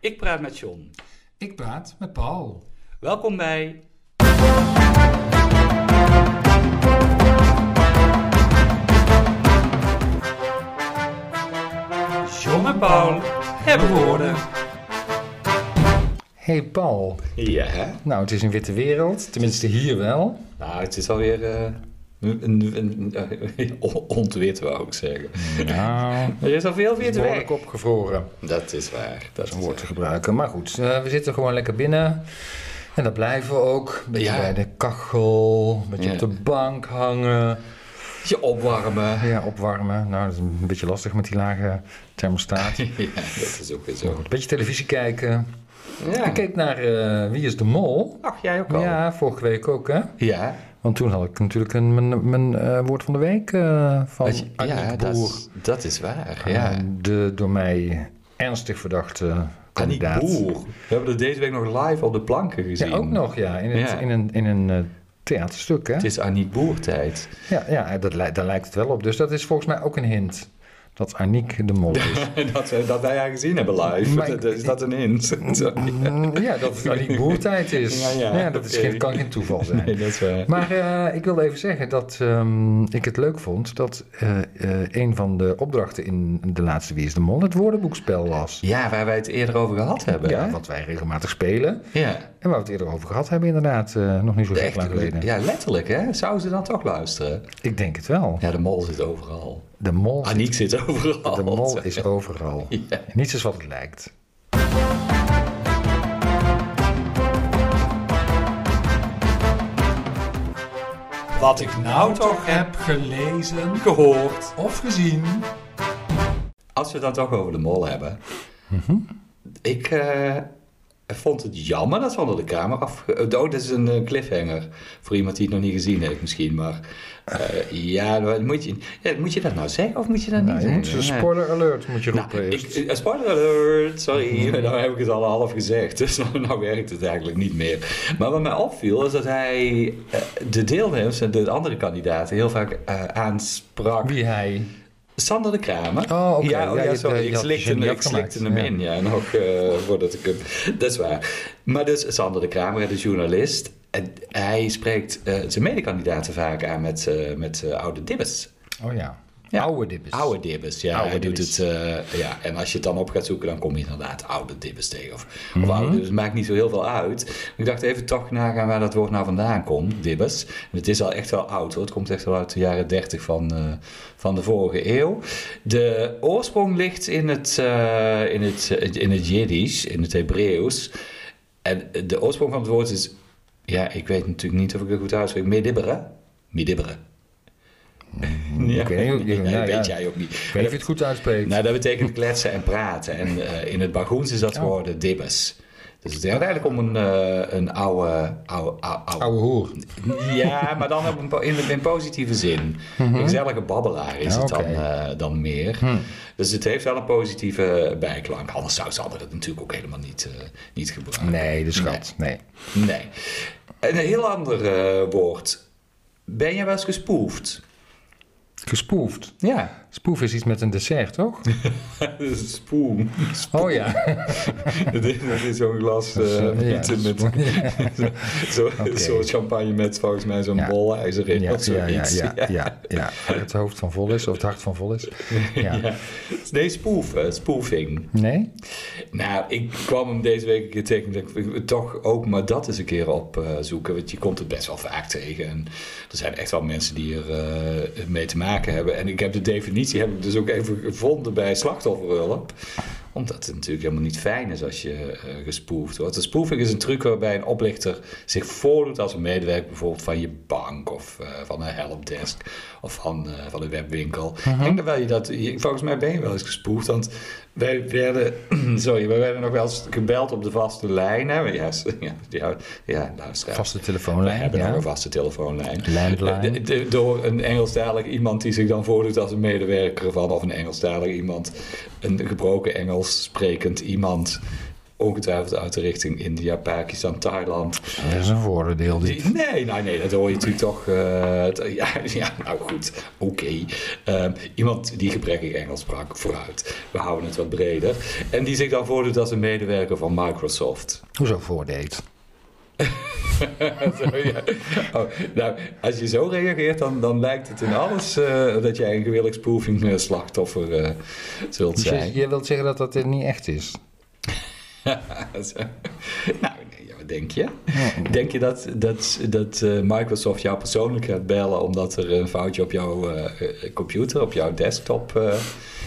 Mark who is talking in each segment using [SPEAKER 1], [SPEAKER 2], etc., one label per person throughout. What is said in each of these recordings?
[SPEAKER 1] Ik praat met John.
[SPEAKER 2] Ik praat met Paul.
[SPEAKER 1] Welkom bij. John en Paul hebben woorden.
[SPEAKER 2] Hey Paul.
[SPEAKER 1] Ja, hè?
[SPEAKER 2] Nou, het is een witte wereld. Tenminste hier wel.
[SPEAKER 1] Nou, het is alweer. eh een, een, een, eh, on- ontwit, wou ik zeggen.
[SPEAKER 2] Nou,
[SPEAKER 1] Er is al veel weer te
[SPEAKER 2] behoorlijk
[SPEAKER 1] werk.
[SPEAKER 2] opgevroren.
[SPEAKER 1] Dat is waar.
[SPEAKER 2] Dat is een woord te gebruiken. Maar goed, eh, we zitten gewoon lekker binnen. En dat blijven we ook. Een beetje
[SPEAKER 1] Ja.
[SPEAKER 2] bij de kachel. Een beetje
[SPEAKER 1] Ja.
[SPEAKER 2] op de bank hangen.
[SPEAKER 1] Je opwarmen.
[SPEAKER 2] Ja, opwarmen. Nou, dat is een beetje lastig met die lage thermostaat.
[SPEAKER 1] Ja, dat is ook
[SPEAKER 2] Maar
[SPEAKER 1] weer zo.
[SPEAKER 2] goed, Een beetje televisie kijken.
[SPEAKER 1] Ja.
[SPEAKER 2] Ik keek naar eh, Wie is de Mol.
[SPEAKER 1] Ach, jij ook al.
[SPEAKER 2] Ja, vorige week ook hè.
[SPEAKER 1] ja.
[SPEAKER 2] Want toen had ik natuurlijk een, mijn, mijn eh, woord van de week eh, van
[SPEAKER 1] Dat je-
[SPEAKER 2] Arnold
[SPEAKER 1] ja,
[SPEAKER 2] Boer.
[SPEAKER 1] dat, is- dat is waar.
[SPEAKER 2] Eh,
[SPEAKER 1] Ja.
[SPEAKER 2] De door mij ernstig verdachte
[SPEAKER 1] Annie
[SPEAKER 2] kandidaat.
[SPEAKER 1] Boer. We hebben dat deze week nog live op de planken gezien.
[SPEAKER 2] Ja, ook nog ja. In, het,
[SPEAKER 1] Ja.
[SPEAKER 2] in een, in een eh, theaterstuk hè.
[SPEAKER 1] Het is Annie Boer tijd.
[SPEAKER 2] Ja, ja dat, lij- daar lijkt het wel op. Dus dat is volgens mij ook een hint. Dat Aniek de mol is.
[SPEAKER 1] dat, we- dat wij haar gezien hebben live.
[SPEAKER 2] Maar
[SPEAKER 1] Dat-
[SPEAKER 2] ik-
[SPEAKER 1] is dat een hint? Sorry.
[SPEAKER 2] Mm, ja, dat het Aniek Boertijd is.
[SPEAKER 1] Ja,
[SPEAKER 2] Ja,
[SPEAKER 1] ja,
[SPEAKER 2] dat is
[SPEAKER 1] oké.
[SPEAKER 2] geen, kan geen toeval zijn.
[SPEAKER 1] Nee, dat is waar.
[SPEAKER 2] Maar eh, ik wilde even zeggen dat ehm, ik het leuk vond dat eh, eh, een van de opdrachten in de laatste Wie is de Mol het woordenboekspel was.
[SPEAKER 1] Ja, waar wij het eerder over gehad hebben.
[SPEAKER 2] Ja,
[SPEAKER 1] hè?
[SPEAKER 2] wat wij regelmatig spelen.
[SPEAKER 1] ja.
[SPEAKER 2] En waar we het eerder over gehad hebben, inderdaad, eh, nog niet zo
[SPEAKER 1] De
[SPEAKER 2] gek lang
[SPEAKER 1] echte,
[SPEAKER 2] geleden.
[SPEAKER 1] ja, letterlijk hè. Zou ze dan toch luisteren?
[SPEAKER 2] Ik denk het wel.
[SPEAKER 1] Ja, de mol zit overal.
[SPEAKER 2] De mol,
[SPEAKER 1] Aniek zit overal.
[SPEAKER 2] de mol is overal.
[SPEAKER 1] Ja.
[SPEAKER 2] Niets is wat het lijkt.
[SPEAKER 1] Wat ik nou toch heb
[SPEAKER 2] gelezen
[SPEAKER 1] gehoord.
[SPEAKER 2] of gezien.
[SPEAKER 1] Als we het dan toch over de mol hebben.
[SPEAKER 2] Mhm.
[SPEAKER 1] Ik eh, vond het jammer dat ze onder de kamer af... eh, Oh, dat is een eh, cliffhanger. Voor iemand die het nog niet gezien heeft misschien. Maar eh, ja, maar moet je, ja, moet je dat nou zeggen of moet je dat
[SPEAKER 2] Nou,
[SPEAKER 1] niet
[SPEAKER 2] je moet
[SPEAKER 1] zeggen? Ja.
[SPEAKER 2] spoiler alert moet je
[SPEAKER 1] Nou,
[SPEAKER 2] roepen.
[SPEAKER 1] ik,
[SPEAKER 2] eerst. Mhm.
[SPEAKER 1] eh, spoiler alert, sorry, nou heb ik het al half gezegd, dus nou, nou werkt het eigenlijk niet meer. Maar wat mij opviel is dat hij eh, de deelnemers en de andere kandidaten heel vaak eh, aansprak
[SPEAKER 2] Wie hij.
[SPEAKER 1] Sander de Kramer.
[SPEAKER 2] Oh, oké.
[SPEAKER 1] Ja, oh,
[SPEAKER 2] Ja,
[SPEAKER 1] ja,
[SPEAKER 2] je-
[SPEAKER 1] sorry.
[SPEAKER 2] je
[SPEAKER 1] Ik
[SPEAKER 2] had
[SPEAKER 1] slikte,
[SPEAKER 2] ze niet
[SPEAKER 1] ik slikte hem
[SPEAKER 2] afgemaakt.
[SPEAKER 1] in, ja, nog eh, voordat ik hem... Dat is waar. Maar dus Sander de Kramer, de journalist. En hij spreekt eh, zijn medekandidaten vaak aan met, eh, met eh, oude dibbes.
[SPEAKER 2] Oh ja.
[SPEAKER 1] Ja.
[SPEAKER 2] Oude dibbes.
[SPEAKER 1] Oude dibbes, ja.
[SPEAKER 2] Dus Oude
[SPEAKER 1] hij
[SPEAKER 2] dibbes.
[SPEAKER 1] doet het, eh, ja. En als je het dan op gaat zoeken, dan kom je inderdaad oude dibbes tegen. Of, of
[SPEAKER 2] Mhm.
[SPEAKER 1] oude dibbes, maakt niet zo heel veel uit. Ik dacht even toch nagaan waar dat woord nou vandaan komt, dibbes. En het is al echt wel oud hoor. Het komt echt wel uit de jaren 30 van, eh, van de vorige eeuw. De oorsprong ligt in het, eh, in het, eh, in het Jiddisch, in het Hebreeuws. En de oorsprong van het woord is, ja, ik weet natuurlijk niet of ik het goed uitspreek, medibberen. Medibberen. Ja,
[SPEAKER 2] ik weet niet,
[SPEAKER 1] nee,
[SPEAKER 2] nou
[SPEAKER 1] weet
[SPEAKER 2] ja.
[SPEAKER 1] jij ook niet.
[SPEAKER 2] Ik weet niet of je het goed uitspreekt.
[SPEAKER 1] Nou, dat betekent kletsen en praten. En eh, in het Bagoens is dat
[SPEAKER 2] Oh.
[SPEAKER 1] geworden dibbes. Dus het gaat eigenlijk om een, eh, een oude, oude, oude,
[SPEAKER 2] Oude hoer.
[SPEAKER 1] Ja, maar dan op een po- in, in positieve zin. Een gezellige babbelaar is
[SPEAKER 2] Ja,
[SPEAKER 1] het dan,
[SPEAKER 2] oké.
[SPEAKER 1] eh, dan meer. Dus het heeft wel een positieve bijklank. Anders zou ze het natuurlijk ook helemaal niet, eh, niet gebruiken.
[SPEAKER 2] Nee, de schat. Nee.
[SPEAKER 1] Nee. Een heel ander eh, woord. Ben jij wel eens gespoefd?
[SPEAKER 2] Gespoefd.
[SPEAKER 1] Ja.
[SPEAKER 2] Spoef is iets met een dessert, toch?
[SPEAKER 1] Spoem.
[SPEAKER 2] Oh ja.
[SPEAKER 1] Dat is- dat is zo'n glas eh,
[SPEAKER 2] Ja,
[SPEAKER 1] met, met
[SPEAKER 2] spoef.
[SPEAKER 1] zo,
[SPEAKER 2] Oké.
[SPEAKER 1] zo'n champagne met volgens mij zo'n
[SPEAKER 2] Ja.
[SPEAKER 1] bolijzer in
[SPEAKER 2] Ja,
[SPEAKER 1] of
[SPEAKER 2] ja, ja,
[SPEAKER 1] zoiets.
[SPEAKER 2] ja, ja, ja. Het hoofd van vol is, of het hart van vol is. Ja.
[SPEAKER 1] Ja. Nee, spoeven, spoofing.
[SPEAKER 2] Nee?
[SPEAKER 1] Nou, ik kwam hem deze week een keer tegen. Ik dacht, ik- toch ook maar dat eens een keer opzoeken. want je komt het best wel vaak tegen. En er zijn echt wel mensen die er eh, mee te maken hebben. En ik heb de definitie heb ik dus ook even gevonden bij slachtofferhulp. Omdat het natuurlijk helemaal niet fijn is als je eh, gespoefd wordt. Een spoefing is een truc waarbij een oplichter zich voordoet als een medewerker bijvoorbeeld van je bank of eh, van een helpdesk of van, eh, van een webwinkel. Ik denk dat wel je dat, je- volgens mij ben je wel eens gespoefd, want wij werden, sorry, wij werden nog wel eens gebeld op de vaste lijn. Hè? Ja, s- ja, ja, ja, luisteraar.
[SPEAKER 2] Vaste
[SPEAKER 1] We
[SPEAKER 2] telefoonlijn,
[SPEAKER 1] hebben nog
[SPEAKER 2] ja.
[SPEAKER 1] een vaste telefoonlijn.
[SPEAKER 2] Landline.
[SPEAKER 1] De- de- door een Engelstalig iemand die zich dan voordoet als een medewerker van, of een Engelstalig iemand, een gebroken Engels sprekend iemand ongetwijfeld uit de richting India, Pakistan, Thailand.
[SPEAKER 2] Dat is een voordeel. Dit.
[SPEAKER 1] Nee, nou, nee, dat hoor je natuurlijk toch. eh, t- ja, ja, nou goed, oké. Ehm, iemand die gebrekkig Engels sprak, vooruit. We houden het wat breder. En die zich dan voordoet als een medewerker van Microsoft.
[SPEAKER 2] Hoezo voordeed?
[SPEAKER 1] Zo, ja. oh, nou, als je zo reageert, dan, dan lijkt het in alles eh, dat jij een gewilligsproeving eh, slachtoffer eh, zult
[SPEAKER 2] Dus je,
[SPEAKER 1] zijn.
[SPEAKER 2] je wilt zeggen dat dat eh, niet echt is?
[SPEAKER 1] Zo. nou, nee, ja, wat denk je? Denk je dat, dat, dat eh, Microsoft jou persoonlijk gaat bellen omdat er een foutje op jouw eh, eh, computer, op jouw desktop eh,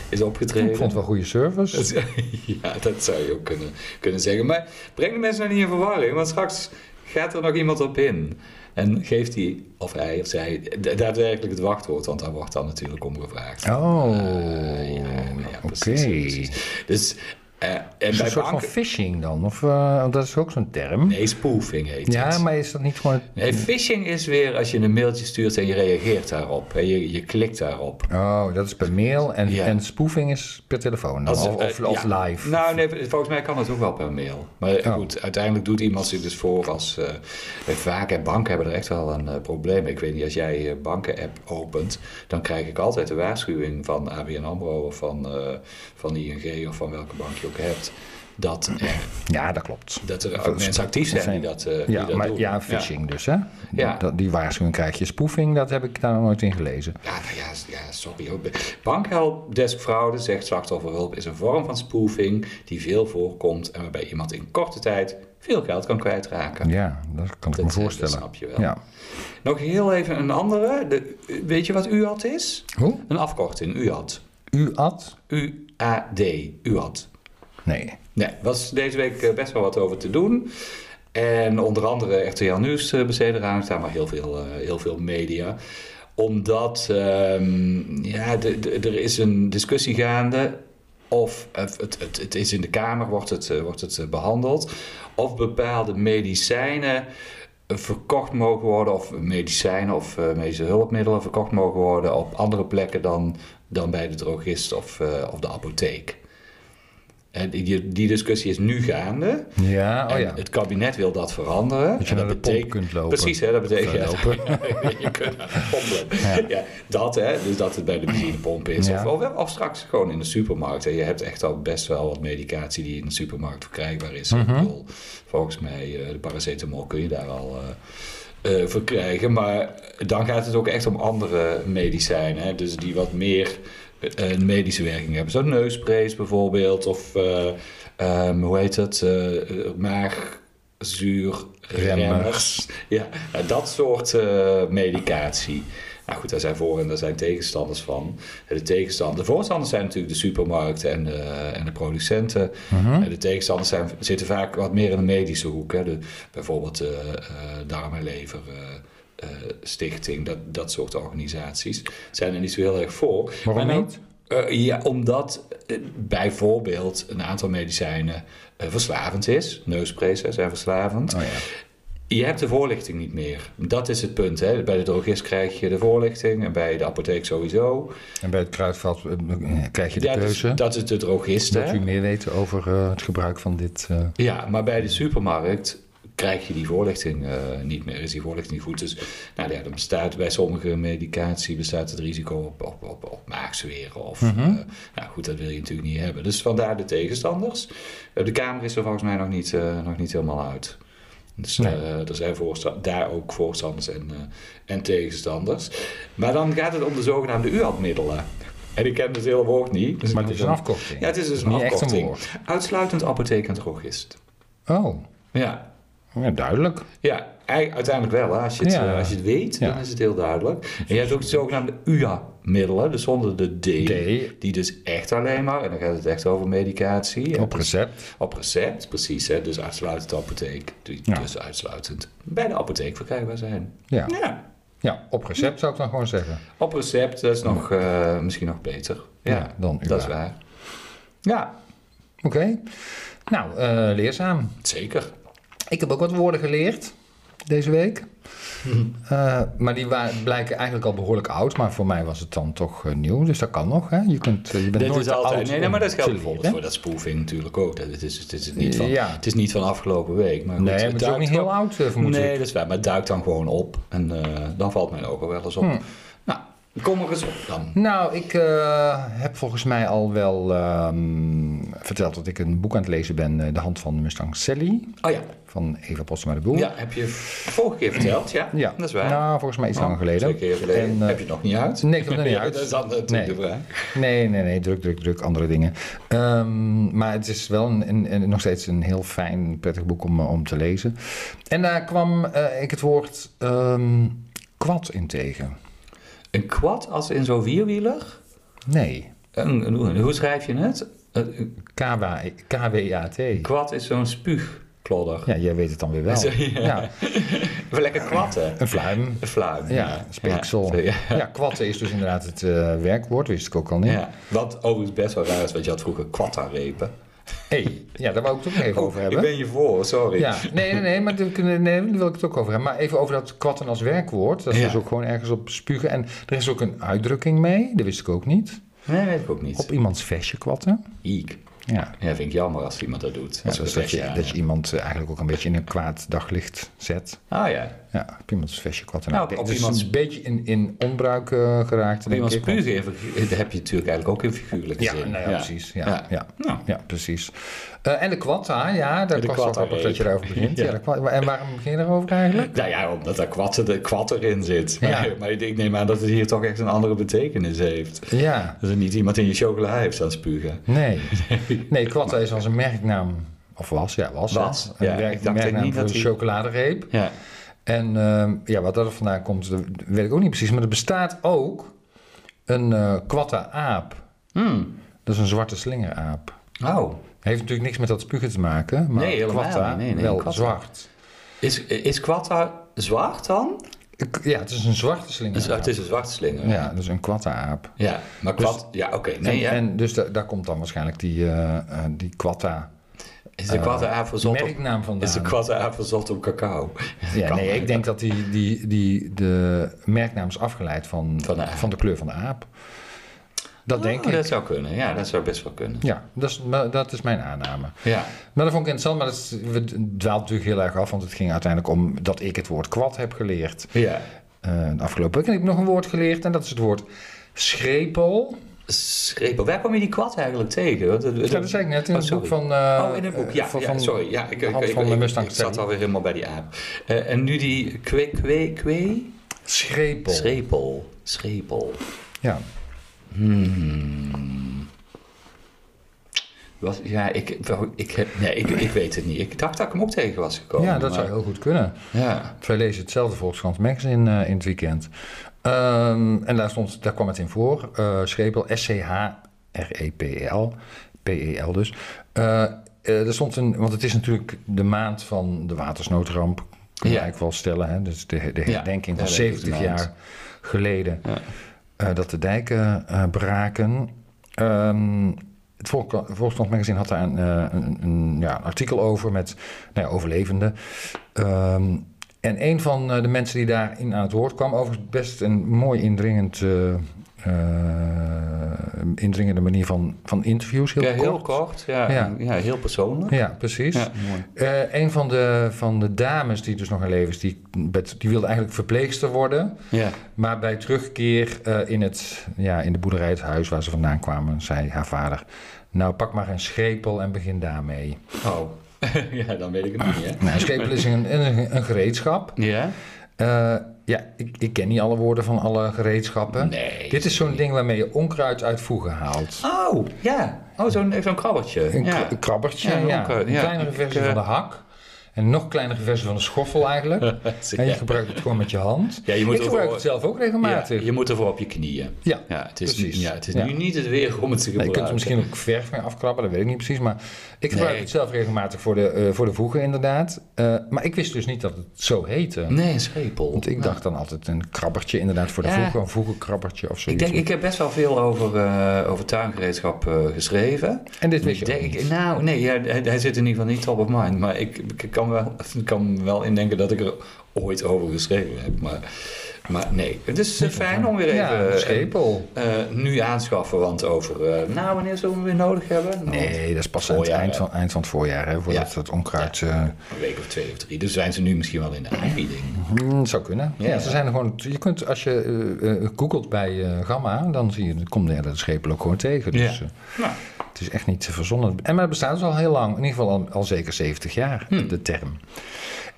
[SPEAKER 1] is
[SPEAKER 2] Ik
[SPEAKER 1] opgetreden?
[SPEAKER 2] vond het wel goede service.
[SPEAKER 1] Dat is- Ja, dat zou je ook kunnen, kunnen zeggen. Maar breng de mensen nou niet in verwarring, want straks gaat er nog iemand op in. En geeft hij, of hij of zij, da- daadwerkelijk het wachtwoord, want daar wordt dan natuurlijk om gevraagd.
[SPEAKER 2] Oh,
[SPEAKER 1] Eh, ja, ja,
[SPEAKER 2] oké.
[SPEAKER 1] precies, precies. Dus, eh, en
[SPEAKER 2] Is het
[SPEAKER 1] bij
[SPEAKER 2] een soort van
[SPEAKER 1] banken...
[SPEAKER 2] phishing dan? Of, eh, dat is ook zo'n term.
[SPEAKER 1] Nee, spoofing heet
[SPEAKER 2] ja,
[SPEAKER 1] het.
[SPEAKER 2] maar is dat niet gewoon...
[SPEAKER 1] Nee, phishing is weer als je een mailtje stuurt en je reageert daarop. En je, je klikt daarop.
[SPEAKER 2] Oh, dat is per mail en,
[SPEAKER 1] Ja.
[SPEAKER 2] en spoofing is per telefoon dan,
[SPEAKER 1] Als-
[SPEAKER 2] of, of,
[SPEAKER 1] eh,
[SPEAKER 2] of
[SPEAKER 1] ja.
[SPEAKER 2] live.
[SPEAKER 1] Nou, nee, volgens mij kan dat ook wel per mail. Maar eh,
[SPEAKER 2] Oh.
[SPEAKER 1] goed, uiteindelijk doet iemand zich dus voor als... eh, eh, vaak, en banken hebben er echt wel een eh, probleem. Ik weet niet, als jij je banken-app opent... dan krijg ik altijd de waarschuwing van ABN AMRO... of van, eh, van ING of van welke bank je ook hebt... dat er,
[SPEAKER 2] ja, dat klopt.
[SPEAKER 1] dat er
[SPEAKER 2] Dat is-
[SPEAKER 1] mensen actief zijn die dat, eh, die
[SPEAKER 2] Ja,
[SPEAKER 1] dat
[SPEAKER 2] maar,
[SPEAKER 1] doen.
[SPEAKER 2] ja phishing dus, hè?
[SPEAKER 1] Ja.
[SPEAKER 2] Dat, die waarschuwing krijg je. Spoofing, dat heb ik daar nog nooit in gelezen.
[SPEAKER 1] Ja, nou ja, s- ja sorry. hoor. Bankhelpdeskfraude, zegt slachtofferhulp, is een vorm van spoofing die veel voorkomt en waarbij iemand in korte tijd veel geld kan kwijtraken.
[SPEAKER 2] Ja, dat kan ik
[SPEAKER 1] Dat,
[SPEAKER 2] me
[SPEAKER 1] eh,
[SPEAKER 2] voorstellen.
[SPEAKER 1] dat snap je wel.
[SPEAKER 2] Ja.
[SPEAKER 1] Nog heel even een andere. De, weet je wat UAD is?
[SPEAKER 2] Hoe?
[SPEAKER 1] Een afkorting, UAD.
[SPEAKER 2] U at?
[SPEAKER 1] U-A-D, UAD.
[SPEAKER 2] Nee.
[SPEAKER 1] Nee, was deze week eh, best wel wat over te doen. En onder andere RTL Nieuws eh, besteedde ruimte, daar, maar heel veel, eh, heel veel media. Omdat ehm, ja, de- de- er is een discussie gaande. Of eh, het, het, het is in de Kamer, wordt het, eh, wordt het eh, behandeld. Of bepaalde medicijnen verkocht mogen worden, of medicijnen of eh, medische hulpmiddelen verkocht mogen worden op andere plekken dan, dan bij de drogist of, eh, of de apotheek. En die, die discussie is nu gaande.
[SPEAKER 2] Ja, oh
[SPEAKER 1] En
[SPEAKER 2] ja.
[SPEAKER 1] Het kabinet wil dat veranderen.
[SPEAKER 2] Dat je
[SPEAKER 1] En
[SPEAKER 2] naar de pomp kunt lopen.
[SPEAKER 1] Precies, hè, dat betekent...
[SPEAKER 2] Kan lopen.
[SPEAKER 1] je kunt naar de pomp lopen. Ja. dat, hè, dus dat het bij de benzinepomp is.
[SPEAKER 2] Ja.
[SPEAKER 1] Of, of, of straks gewoon in de supermarkt. En je hebt echt al best wel wat medicatie die in de supermarkt verkrijgbaar is. Ik bedoel, volgens mij, eh, de paracetamol kun je daar al... eh eh, voor krijgen, maar dan gaat het ook echt om andere medicijnen. Hè? Dus die wat meer eh, een medische werking hebben. Zo'n neusprays bijvoorbeeld, of eh, ehm, hoe heet het? eh maagzuurremmers.
[SPEAKER 2] Remmers.
[SPEAKER 1] Ja, nou, dat soort eh, medicatie. Nou goed, daar zijn voor- en daar zijn tegenstanders van. De, tegenstander, de voorstanders zijn natuurlijk de supermarkten en de, en de producenten. En de tegenstanders zijn, zitten vaak wat meer in de medische hoek. Hè? De, bijvoorbeeld de eh, darm- en leverstichting, eh, dat, dat soort organisaties. Zijn er niet zo heel erg voor.
[SPEAKER 2] Waarom
[SPEAKER 1] nou-
[SPEAKER 2] niet?
[SPEAKER 1] eh, ja, omdat eh, bijvoorbeeld een aantal medicijnen eh, verslavend is. Neusprays hè, zijn verslavend.
[SPEAKER 2] Oh ja.
[SPEAKER 1] Je hebt de voorlichting niet meer. Dat is het punt. Hè. Bij de drogist krijg je de voorlichting en bij de apotheek sowieso.
[SPEAKER 2] En bij het kruidvat eh, eh, krijg je de
[SPEAKER 1] Ja, dat, is,
[SPEAKER 2] keuze dat,
[SPEAKER 1] dat is de drogist. hè.
[SPEAKER 2] u meer weet over eh, het gebruik van dit. eh,
[SPEAKER 1] Ja, maar bij de supermarkt krijg je die voorlichting eh, niet meer. Is die voorlichting niet goed? Dus nou ja, dan bestaat bij sommige medicatie bestaat het risico op, op, op, op maagzweren. Of,
[SPEAKER 2] Mhm.
[SPEAKER 1] eh, nou goed, dat wil je natuurlijk niet hebben. Dus vandaar de tegenstanders. Eh, de Kamer is er volgens mij nog niet, eh, nog niet helemaal uit. Dus
[SPEAKER 2] Nee.
[SPEAKER 1] eh, er zijn voorsta- daar ook voorstanders en, eh, en tegenstanders. Maar dan gaat het om de zogenaamde UAD-middelen. En ik ken het hele woord niet. dus ik
[SPEAKER 2] maar
[SPEAKER 1] moet
[SPEAKER 2] het is een
[SPEAKER 1] dan-
[SPEAKER 2] afkorting.
[SPEAKER 1] Ja, het is dus een
[SPEAKER 2] niet echt een
[SPEAKER 1] afkorting.
[SPEAKER 2] woord.
[SPEAKER 1] Uitsluitend apotheek en drogist.
[SPEAKER 2] Oh,
[SPEAKER 1] Ja,
[SPEAKER 2] ja, duidelijk.
[SPEAKER 1] ja ei- uiteindelijk wel. Hè. Als, je het,
[SPEAKER 2] Ja.
[SPEAKER 1] eh, als je het weet,
[SPEAKER 2] Ja.
[SPEAKER 1] dan is het heel duidelijk. En je hebt ook de zogenaamde UA-middelen, dus zonder de D,
[SPEAKER 2] D.
[SPEAKER 1] Die dus echt alleen maar, en dan gaat het echt over medicatie.
[SPEAKER 2] Op recept.
[SPEAKER 1] Op recept, precies. Hè, dus uitsluitend de apotheek. Die
[SPEAKER 2] Ja.
[SPEAKER 1] dus uitsluitend bij de apotheek verkrijgbaar zijn.
[SPEAKER 2] Ja.
[SPEAKER 1] Ja,
[SPEAKER 2] ja, op recept zou ik dan gewoon zeggen.
[SPEAKER 1] op recept, dat is nog, eh, misschien nog beter. Ja,
[SPEAKER 2] Ja, dan
[SPEAKER 1] dat is
[SPEAKER 2] UA.
[SPEAKER 1] waar. Ja,
[SPEAKER 2] Oké. Nou, eh, leerzaam.
[SPEAKER 1] zeker.
[SPEAKER 2] Ik heb ook wat woorden geleerd. deze week.
[SPEAKER 1] Mhm.
[SPEAKER 2] Eh, maar die wa- blijken eigenlijk al behoorlijk oud. Maar voor mij was het dan toch eh, nieuw. Dus dat kan nog. Hè? Je, kunt, eh, je bent
[SPEAKER 1] Dit
[SPEAKER 2] nooit
[SPEAKER 1] is
[SPEAKER 2] te
[SPEAKER 1] altijd.
[SPEAKER 2] oud
[SPEAKER 1] Nee, nee, maar
[SPEAKER 2] om
[SPEAKER 1] dat geldt
[SPEAKER 2] te
[SPEAKER 1] bijvoorbeeld
[SPEAKER 2] leren.
[SPEAKER 1] voor dat spoofing natuurlijk ook. Dat, het, is, het, is niet van,
[SPEAKER 2] Ja.
[SPEAKER 1] het is niet van afgelopen week. Maar goed,
[SPEAKER 2] Nee, maar het is ook
[SPEAKER 1] duikt
[SPEAKER 2] niet
[SPEAKER 1] wel-
[SPEAKER 2] heel oud, eh, vermoed
[SPEAKER 1] Nee,
[SPEAKER 2] ik.
[SPEAKER 1] dat is waar. Maar het duikt dan gewoon op. En eh, dan valt mijn ogen wel eens
[SPEAKER 2] Hmm.
[SPEAKER 1] op. Nou, kom er eens op dan.
[SPEAKER 2] Nou, ik eh, heb volgens mij al wel ehm, verteld dat ik een boek aan het lezen ben. eh, De hand van Mustang Sally.
[SPEAKER 1] Oh ja.
[SPEAKER 2] Van Eva Postma de Boel.
[SPEAKER 1] ja, heb je vorige keer verteld. Ja,
[SPEAKER 2] Ja.
[SPEAKER 1] dat is waar. Oh,
[SPEAKER 2] Nou, volgens mij iets langer geleden.
[SPEAKER 1] Twee keer geleden.
[SPEAKER 2] En, eh,
[SPEAKER 1] heb je het nog niet uit?
[SPEAKER 2] Nee, ik heb het nog niet
[SPEAKER 1] dat is
[SPEAKER 2] uit.
[SPEAKER 1] dan natuurlijk
[SPEAKER 2] Nee.
[SPEAKER 1] de vraag.
[SPEAKER 2] Nee, nee, nee. Druk, druk, druk. Andere dingen. Ehm, maar het is wel een, een- een- nog steeds een heel fijn, prettig boek om, eh, om te lezen. En daar kwam eh, ik het woord ehm kwad in tegen.
[SPEAKER 1] Een quad als in zo'n vierwieler?
[SPEAKER 2] Nee.
[SPEAKER 1] Een, een- hoe- hoe schrijf je het? Een
[SPEAKER 2] K-W- KWAT.
[SPEAKER 1] quad is zo'n spuugklodder.
[SPEAKER 2] Ja, jij weet het dan weer wel.
[SPEAKER 1] Ja.
[SPEAKER 2] Ja,
[SPEAKER 1] Lekker kwad, hè?
[SPEAKER 2] een fluim.
[SPEAKER 1] Een fluim.
[SPEAKER 2] Ja, speeksel.
[SPEAKER 1] Ja.
[SPEAKER 2] Ja, kwatten is dus inderdaad het eh, werkwoord, wist ik ook al niet.
[SPEAKER 1] Ja, wat overigens best wel raar is, want je had vroeger kwattarepen.
[SPEAKER 2] Hey, ja, daar wou Oh, ik het ook nog even over hebben.
[SPEAKER 1] Ik ben je voor, sorry.
[SPEAKER 2] Ja, nee, nee, nee, maar daar kunnen- nee, daar wil ik het ook over hebben. Maar even over dat kwatten als werkwoord. Dat is
[SPEAKER 1] Ja.
[SPEAKER 2] dus ook gewoon ergens op spugen. En er is ook een uitdrukking mee, dat wist ik ook niet.
[SPEAKER 1] Nee, weet ik ook niet.
[SPEAKER 2] Op iemands vestje kwatten.
[SPEAKER 1] Iek.
[SPEAKER 2] Ja,
[SPEAKER 1] Ja, vind ik jammer als iemand dat doet.
[SPEAKER 2] ja
[SPEAKER 1] Als we
[SPEAKER 2] dus
[SPEAKER 1] een
[SPEAKER 2] dat je,
[SPEAKER 1] vestje aan
[SPEAKER 2] dat je iemand eh, eigenlijk ook een beetje in een kwaad daglicht zet.
[SPEAKER 1] hebben. Ah ja,
[SPEAKER 2] Ja, op iemands vestje kwatten.
[SPEAKER 1] Nou,
[SPEAKER 2] Nou,
[SPEAKER 1] op
[SPEAKER 2] dus
[SPEAKER 1] iemands-
[SPEAKER 2] een beetje in, in onbruik eh, geraakt.
[SPEAKER 1] op
[SPEAKER 2] denk
[SPEAKER 1] iemand
[SPEAKER 2] ik.
[SPEAKER 1] spugen in figuur- dat heb je natuurlijk eigenlijk ook in figuurlijke
[SPEAKER 2] Ja,
[SPEAKER 1] zin.
[SPEAKER 2] nou ja, precies. Ja,
[SPEAKER 1] Ja.
[SPEAKER 2] ja. ja.
[SPEAKER 1] Nou.
[SPEAKER 2] precies. Eh, en de kwatta, ja, dat
[SPEAKER 1] De
[SPEAKER 2] was wel
[SPEAKER 1] kwatta
[SPEAKER 2] grappig dat je
[SPEAKER 1] reep.
[SPEAKER 2] daarover begint.
[SPEAKER 1] Ja.
[SPEAKER 2] ja. de kwatta. en waarom begin je daarover eigenlijk?
[SPEAKER 1] Nou ja, omdat daar kwad, de kwad erin zit. Maar,
[SPEAKER 2] Ja.
[SPEAKER 1] maar ik neem aan dat het hier toch echt een andere betekenis heeft.
[SPEAKER 2] Ja,
[SPEAKER 1] Dat er niet iemand in je chocola heeft aan spugen.
[SPEAKER 2] nee. Nee, kwatta is als een merknaam, of was, ja, was. hè.
[SPEAKER 1] Was,
[SPEAKER 2] Een
[SPEAKER 1] ja,
[SPEAKER 2] werk-
[SPEAKER 1] ik dacht
[SPEAKER 2] merknaam
[SPEAKER 1] niet
[SPEAKER 2] voor
[SPEAKER 1] dat
[SPEAKER 2] de
[SPEAKER 1] die-
[SPEAKER 2] chocoladereep.
[SPEAKER 1] Ja.
[SPEAKER 2] En ehm, ja, wat dat vandaan komt, dat weet ik ook niet precies. Maar er bestaat ook een eh kwatta-aap.
[SPEAKER 1] Hmm.
[SPEAKER 2] Dat is een zwarte slingeraap.
[SPEAKER 1] Oh,
[SPEAKER 2] Heeft natuurlijk niks met dat spugen te maken, maar
[SPEAKER 1] Nee, helemaal
[SPEAKER 2] kwatta,
[SPEAKER 1] niet. Nee, nee,
[SPEAKER 2] wel
[SPEAKER 1] kwatta.
[SPEAKER 2] zwart.
[SPEAKER 1] is, is kwatta zwart dan?
[SPEAKER 2] Ik- Ja, het is een zwarte
[SPEAKER 1] Dus,
[SPEAKER 2] slingeraap.
[SPEAKER 1] Het is een zwart slinger.
[SPEAKER 2] Ja, dat is een kwatta-aap.
[SPEAKER 1] Ja, maar
[SPEAKER 2] Dus-
[SPEAKER 1] kwad... ja, oké. nee,
[SPEAKER 2] en,
[SPEAKER 1] ja.
[SPEAKER 2] en dus da- daar komt dan waarschijnlijk die, eh eh, die kwatta
[SPEAKER 1] Is de kwatte aap verzot op...
[SPEAKER 2] merknaam vandaan.
[SPEAKER 1] Is de kwatte aap verzot op cacao?
[SPEAKER 2] ja,
[SPEAKER 1] Kan
[SPEAKER 2] nee,
[SPEAKER 1] maar.
[SPEAKER 2] ik denk dat die, die, die, de merknaam is afgeleid van,
[SPEAKER 1] Van de aap.
[SPEAKER 2] van de kleur van de aap. Dat denk
[SPEAKER 1] Oh,
[SPEAKER 2] ik.
[SPEAKER 1] Dat zou kunnen, ja, dat zou best wel kunnen.
[SPEAKER 2] Ja, dat is, maar dat is mijn aanname.
[SPEAKER 1] Ja,
[SPEAKER 2] Maar dat vond ik interessant, maar dat is, we dwaalt natuurlijk heel erg af, want het ging uiteindelijk om dat ik het woord kwad heb geleerd
[SPEAKER 1] ja.
[SPEAKER 2] eh, de afgelopen week. En ik heb nog een woord geleerd en dat is het woord schrepel.
[SPEAKER 1] Schrepel. Waar kwam je die kwad eigenlijk tegen? Want het-
[SPEAKER 2] Ja, dat zei ik net in
[SPEAKER 1] Oh,
[SPEAKER 2] het
[SPEAKER 1] sorry.
[SPEAKER 2] boek van... eh,
[SPEAKER 1] oh, in het boek, ja,
[SPEAKER 2] van-
[SPEAKER 1] ja,
[SPEAKER 2] van-
[SPEAKER 1] sorry. Ja, ik,
[SPEAKER 2] de
[SPEAKER 1] ik,
[SPEAKER 2] hand
[SPEAKER 1] ik,
[SPEAKER 2] van de
[SPEAKER 1] ik-
[SPEAKER 2] Mustang
[SPEAKER 1] ik zat
[SPEAKER 2] Sally.
[SPEAKER 1] alweer helemaal bij die aap. Eh, en nu die kwee, kwee, kwee?
[SPEAKER 2] Schrepel.
[SPEAKER 1] Schrepel. Schrepel.
[SPEAKER 2] Ja.
[SPEAKER 1] Hmm. Was, ja, ik, ik, heb- nee, ik, ik weet het niet. Ik dacht dat ik hem ook tegen was gekomen.
[SPEAKER 2] ja, dat
[SPEAKER 1] maar-
[SPEAKER 2] zou heel goed kunnen.
[SPEAKER 1] Ja.
[SPEAKER 2] Wij lezen hetzelfde Volkskrant magazine eh, in het weekend. Ehm, en daar, stond, daar kwam het in voor. eh, Schepel, E S-C-H-R-E-P-E-L. P-E-L dus. Eh, eh, er stond een, want het is natuurlijk de maand van de watersnoodramp. Kun je
[SPEAKER 1] Ja.
[SPEAKER 2] eigenlijk wel stellen. Hè? Dus de, de
[SPEAKER 1] Ja,
[SPEAKER 2] herdenking van
[SPEAKER 1] ja, dat is
[SPEAKER 2] 70
[SPEAKER 1] de maand.
[SPEAKER 2] jaar geleden.
[SPEAKER 1] Ja.
[SPEAKER 2] eh, dat de dijken eh, braken. Ehm, het Volk- Volkskrant magazine had daar een, eh, een, een, ja, een artikel over met nou ja, overlevenden. Ehm, en een van eh, de mensen die daarin aan het woord kwam, overigens best een mooi indringend, eh, eh, indringende manier van, van interviews. Heel
[SPEAKER 1] ja,
[SPEAKER 2] kort.
[SPEAKER 1] heel kort. Ja, ja.
[SPEAKER 2] Ja.
[SPEAKER 1] heel persoonlijk.
[SPEAKER 2] Ja, precies.
[SPEAKER 1] Ja, mooi.
[SPEAKER 2] Eh, een van de, van de dames die dus nog in leven is, die, bet- die wilde eigenlijk verpleegster worden.
[SPEAKER 1] Ja.
[SPEAKER 2] Maar bij terugkeer eh, in, het, ja, in de boerderij, het huis waar ze vandaan kwamen, zei haar vader... Nou, pak maar een schepel en begin daarmee.
[SPEAKER 1] Oh. ja, dan weet ik het niet, hè?
[SPEAKER 2] Nou, een schepel is een, een, een gereedschap.
[SPEAKER 1] Ja?
[SPEAKER 2] Eh, ja, ik, ik ken niet alle woorden van alle gereedschappen.
[SPEAKER 1] Nee.
[SPEAKER 2] Dit is zo'n ding waarmee je onkruid uit voegen haalt.
[SPEAKER 1] Oh, ja. Oh, zo'n zo'n krabbeltje.
[SPEAKER 2] Een
[SPEAKER 1] ja.
[SPEAKER 2] kra- krabbertje,
[SPEAKER 1] Ja,
[SPEAKER 2] ja,
[SPEAKER 1] een onkruid,
[SPEAKER 2] een
[SPEAKER 1] ja.
[SPEAKER 2] kleinere
[SPEAKER 1] Ik,
[SPEAKER 2] versie
[SPEAKER 1] eh,
[SPEAKER 2] van de hak. En een nog kleinere versie van de schoffel eigenlijk. En je
[SPEAKER 1] Ja.
[SPEAKER 2] gebruikt het gewoon met je hand.
[SPEAKER 1] Ja, je moet
[SPEAKER 2] ik
[SPEAKER 1] er
[SPEAKER 2] gebruik
[SPEAKER 1] wel-
[SPEAKER 2] het zelf ook
[SPEAKER 1] Ja,
[SPEAKER 2] regelmatig. Ja,
[SPEAKER 1] je moet ervoor op je knieën.
[SPEAKER 2] Ja,
[SPEAKER 1] ja het is,
[SPEAKER 2] precies.
[SPEAKER 1] Ja, het is
[SPEAKER 2] Ja.
[SPEAKER 1] nu niet het weer om het te gebruiken.
[SPEAKER 2] Nee, je kunt er misschien ook verf mee afkrabben, dat weet ik niet precies. Maar ik gebruik
[SPEAKER 1] Nee.
[SPEAKER 2] het zelf regelmatig voor de, eh, voor de voegen inderdaad. Eh, maar ik wist dus niet dat het zo heette.
[SPEAKER 1] Nee, een schepel.
[SPEAKER 2] Want ik
[SPEAKER 1] Nou,
[SPEAKER 2] dacht dan altijd een krabbertje inderdaad voor de
[SPEAKER 1] Ja.
[SPEAKER 2] voegen. Een voegenkrabbertje of
[SPEAKER 1] Ik
[SPEAKER 2] zoiets.
[SPEAKER 1] denk, ik heb best wel veel over, eh, over tuingereedschap eh, geschreven.
[SPEAKER 2] en dit
[SPEAKER 1] Dus
[SPEAKER 2] wist je
[SPEAKER 1] ik
[SPEAKER 2] ook
[SPEAKER 1] denk,
[SPEAKER 2] niet.
[SPEAKER 1] nou, nee, ja, hij, hij zit in ieder geval niet top of mind. Maar ik, ik kan wel, kan wel indenken dat ik er ooit over geschreven heb. Maar, maar nee, het is eh, fijn om weer even
[SPEAKER 2] ja,
[SPEAKER 1] eh,
[SPEAKER 2] schepel.
[SPEAKER 1] eh, nu aanschaffen. Want over, eh, nou, wanneer zullen we hem weer nodig hebben? Nou,
[SPEAKER 2] Nee, dat is pas aan het
[SPEAKER 1] Voorjaar,
[SPEAKER 2] eind
[SPEAKER 1] hè?
[SPEAKER 2] van, eind van het voorjaar, hè, voordat
[SPEAKER 1] Ja.
[SPEAKER 2] het onkruid... eh,
[SPEAKER 1] Een week of twee of drie. Dus zijn ze nu misschien wel in de aanbieding.
[SPEAKER 2] Mm, zou kunnen. Ja,
[SPEAKER 1] Ja.
[SPEAKER 2] ze zijn er gewoon. Je kunt als je eh, eh, googelt bij eh, Gamma, dan zie je, dan komt de hele schepel ook gewoon tegen. Dus
[SPEAKER 1] Ja.
[SPEAKER 2] eh,
[SPEAKER 1] Nou,
[SPEAKER 2] het is echt niet verzonnen. En maar het bestaat dus al heel lang, in ieder geval al, al zeker 70 jaar,
[SPEAKER 1] Hmm.
[SPEAKER 2] de term.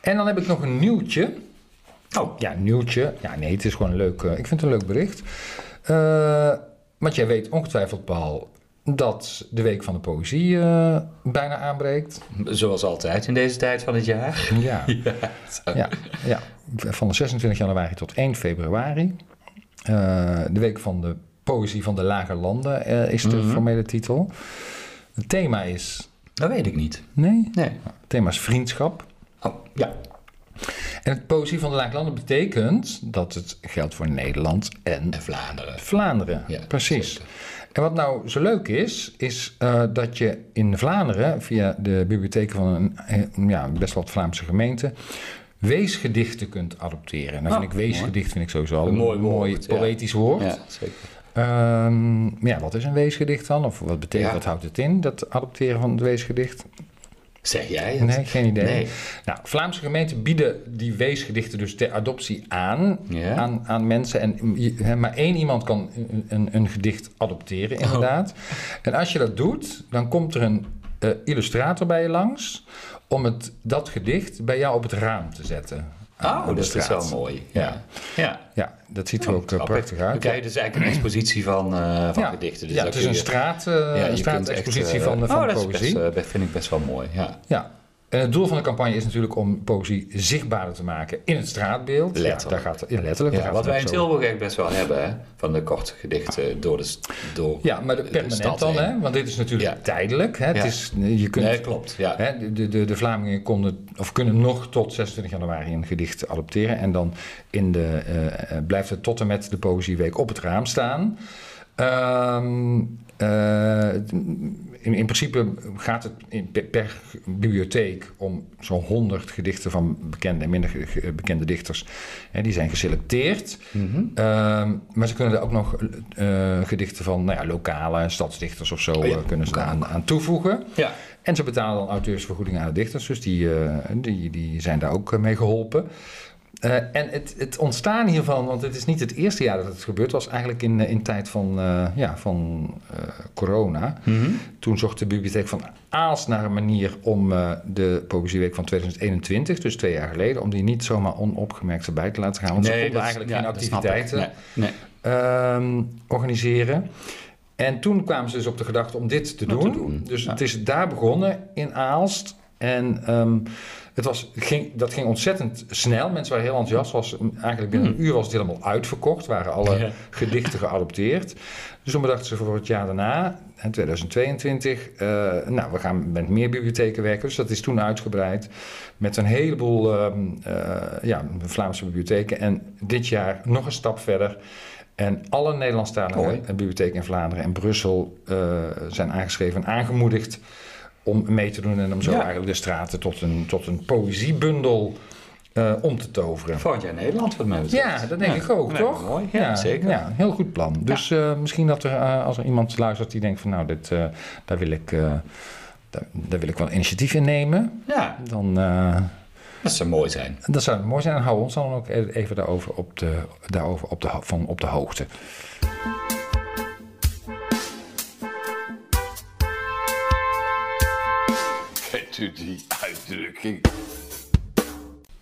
[SPEAKER 2] En dan heb ik nog een nieuwtje.
[SPEAKER 1] oh,
[SPEAKER 2] Ja, nieuwtje. Ja, nee, het is gewoon een leuk. eh, ik vind het een leuk bericht. Eh, want jij weet ongetwijfeld, Paul, dat de Week van de Poëzie eh, bijna aanbreekt.
[SPEAKER 1] zoals altijd in deze tijd van het jaar.
[SPEAKER 2] Ja. Ja, ja, van 26 januari tot 1 februari. Eh, de week van de poëzie van de lage landen eh, is de formele titel. Het thema is...
[SPEAKER 1] Dat weet ik niet.
[SPEAKER 2] Nee,
[SPEAKER 1] Nee.
[SPEAKER 2] het thema is vriendschap.
[SPEAKER 1] Oh, ja.
[SPEAKER 2] En het poëzie van de lage landen betekent dat het geldt voor Nederland en
[SPEAKER 1] En Vlaanderen.
[SPEAKER 2] Vlaanderen.
[SPEAKER 1] Ja,
[SPEAKER 2] precies. En wat nou zo leuk is, is eh, dat je in Vlaanderen via de bibliotheken van een, eh, ja, best wel wat Vlaamse gemeenten weesgedichten kunt adopteren. En dan vind
[SPEAKER 1] Oh,
[SPEAKER 2] ik weesgedicht vind ik sowieso al
[SPEAKER 1] Een
[SPEAKER 2] een
[SPEAKER 1] mooi
[SPEAKER 2] mooi,
[SPEAKER 1] woord, ja.
[SPEAKER 2] poëtisch woord. Ehm,
[SPEAKER 1] Ja, zeker.
[SPEAKER 2] Ja. wat is een weesgedicht dan? Of wat betekent,
[SPEAKER 1] Ja.
[SPEAKER 2] wat houdt het in, dat adopteren van het weesgedicht?
[SPEAKER 1] Zeg jij het?
[SPEAKER 2] Nee, geen idee.
[SPEAKER 1] Nee.
[SPEAKER 2] Nou, Vlaamse gemeenten bieden die weesgedichten dus ter adoptie aan,
[SPEAKER 1] Ja.
[SPEAKER 2] aan, aan mensen. En je- hè, maar één iemand kan een, een, een gedicht adopteren,
[SPEAKER 1] Oh.
[SPEAKER 2] inderdaad. En als je dat doet, dan komt er een eh, illustrator bij je langs om het, dat gedicht bij jou op het raam te zetten. aan-
[SPEAKER 1] Oh,
[SPEAKER 2] aan de
[SPEAKER 1] dat is
[SPEAKER 2] straat.
[SPEAKER 1] wel mooi.
[SPEAKER 2] Ja.
[SPEAKER 1] Ja.
[SPEAKER 2] Ja, dat ziet er ook eh,
[SPEAKER 1] Grappig.
[SPEAKER 2] prachtig
[SPEAKER 1] Dan
[SPEAKER 2] uit.
[SPEAKER 1] krijg je dus eigenlijk een expositie van, eh, van
[SPEAKER 2] ja.
[SPEAKER 1] gedichten.
[SPEAKER 2] ja,
[SPEAKER 1] Dus daar
[SPEAKER 2] het is
[SPEAKER 1] kun
[SPEAKER 2] een,
[SPEAKER 1] je-
[SPEAKER 2] straat, eh,
[SPEAKER 1] ja, je
[SPEAKER 2] een
[SPEAKER 1] kunt
[SPEAKER 2] straatexpositie
[SPEAKER 1] echt, eh,
[SPEAKER 2] van, de van
[SPEAKER 1] oh, dat is
[SPEAKER 2] poëzie.
[SPEAKER 1] best, eh, best- vind ik best wel mooi. Ja.
[SPEAKER 2] Ja. En het doel van de campagne is natuurlijk om poëzie zichtbaarder te maken in het straatbeeld. Ja, daar
[SPEAKER 1] Letterlijk.
[SPEAKER 2] gaat, ja, letterlijk. daar
[SPEAKER 1] Ja,
[SPEAKER 2] gaat het
[SPEAKER 1] wat wij in
[SPEAKER 2] ook zo.
[SPEAKER 1] Tilburg eigenlijk best wel hebben, hè? van de korte gedichten door de s- door
[SPEAKER 2] Ja, maar de permanent
[SPEAKER 1] stad
[SPEAKER 2] dan,
[SPEAKER 1] heen.
[SPEAKER 2] hè? Want dit is natuurlijk
[SPEAKER 1] Ja.
[SPEAKER 2] tijdelijk. Hè?
[SPEAKER 1] Ja.
[SPEAKER 2] Het is, je kunt,
[SPEAKER 1] Nee, klopt. Ja.
[SPEAKER 2] hè, de- de, de, de Vlamingen konden, of kunnen nog tot 26 januari een gedicht adopteren. En dan in de, eh, eh, blijft het tot en met de Poëzieweek op het raam staan. Ehm, eh, in, in principe gaat het in- per, per bibliotheek om zo'n 100 gedichten van bekende en minder ge- ge- bekende dichters. Hè, die zijn geselecteerd.
[SPEAKER 1] Mhm.
[SPEAKER 2] Ehm, maar ze kunnen er ook nog eh, gedichten van nou ja, lokale stadsdichters of zo
[SPEAKER 1] Oh ja.
[SPEAKER 2] eh, kunnen ze daar aan, aan toevoegen.
[SPEAKER 1] ja.
[SPEAKER 2] En ze betalen dan auteursvergoeding aan de dichters, dus die, eh, die, die zijn daar ook eh, mee geholpen. Eh, en het, het ontstaan hiervan, want het is niet het eerste jaar dat het gebeurd was, eigenlijk in, eh, in tijd van, eh, ja, van eh, corona.
[SPEAKER 1] Mhm.
[SPEAKER 2] Toen zocht de bibliotheek van Aals naar een manier om eh, de Poëzieweek van 2021, dus twee jaar geleden, om die niet zomaar onopgemerkt erbij te laten gaan. Want ze konden
[SPEAKER 1] dat-
[SPEAKER 2] eigenlijk
[SPEAKER 1] ja,
[SPEAKER 2] geen
[SPEAKER 1] dat snap ik.
[SPEAKER 2] activiteiten
[SPEAKER 1] Nee, nee.
[SPEAKER 2] ehm, organiseren. En toen kwamen ze dus op de gedachte om dit te,
[SPEAKER 1] Om
[SPEAKER 2] doen.
[SPEAKER 1] te doen,
[SPEAKER 2] Dus
[SPEAKER 1] ja.
[SPEAKER 2] het is daar begonnen in Aalst. En ehm, het was, ging, dat ging ontzettend snel. Mensen waren heel enthousiast. Was, eigenlijk binnen een uur was het helemaal uitverkocht. Waren alle
[SPEAKER 1] Hmm. Ja.
[SPEAKER 2] gedichten geadopteerd. Dus toen bedachten ze voor het jaar daarna, hè, 2022, eh, nou, we gaan met meer bibliotheken werken. Dus dat is toen uitgebreid met een heleboel ehm, eh, ja, Vlaamse bibliotheken. En dit jaar nog een stap verder. En alle Nederlandstalige
[SPEAKER 1] Mooi.
[SPEAKER 2] bibliotheken in Vlaanderen en Brussel eh, zijn aangeschreven en aangemoedigd om mee te doen. En om zo
[SPEAKER 1] Ja.
[SPEAKER 2] eigenlijk de straten tot een, tot een poëziebundel eh, om te toveren.
[SPEAKER 1] Volgend jaar Nederland, wat mij betreft.
[SPEAKER 2] Ja, dat denk ik ook,
[SPEAKER 1] Nee,
[SPEAKER 2] toch?
[SPEAKER 1] Mooi, ja, zeker.
[SPEAKER 2] Ja, heel goed plan. Dus eh, misschien dat er, eh, als er iemand luistert die denkt van nou, dit, eh, daar, wil ik, eh, daar, daar wil ik wel initiatief in nemen.
[SPEAKER 1] Ja,
[SPEAKER 2] Dan eh,
[SPEAKER 1] dat zou mooi zijn.
[SPEAKER 2] dat zou mooi zijn. En hou ons dan ook e- even daarover op de, daarover op de, ho- van op de hoogte.
[SPEAKER 3] Kent u die uitdrukking?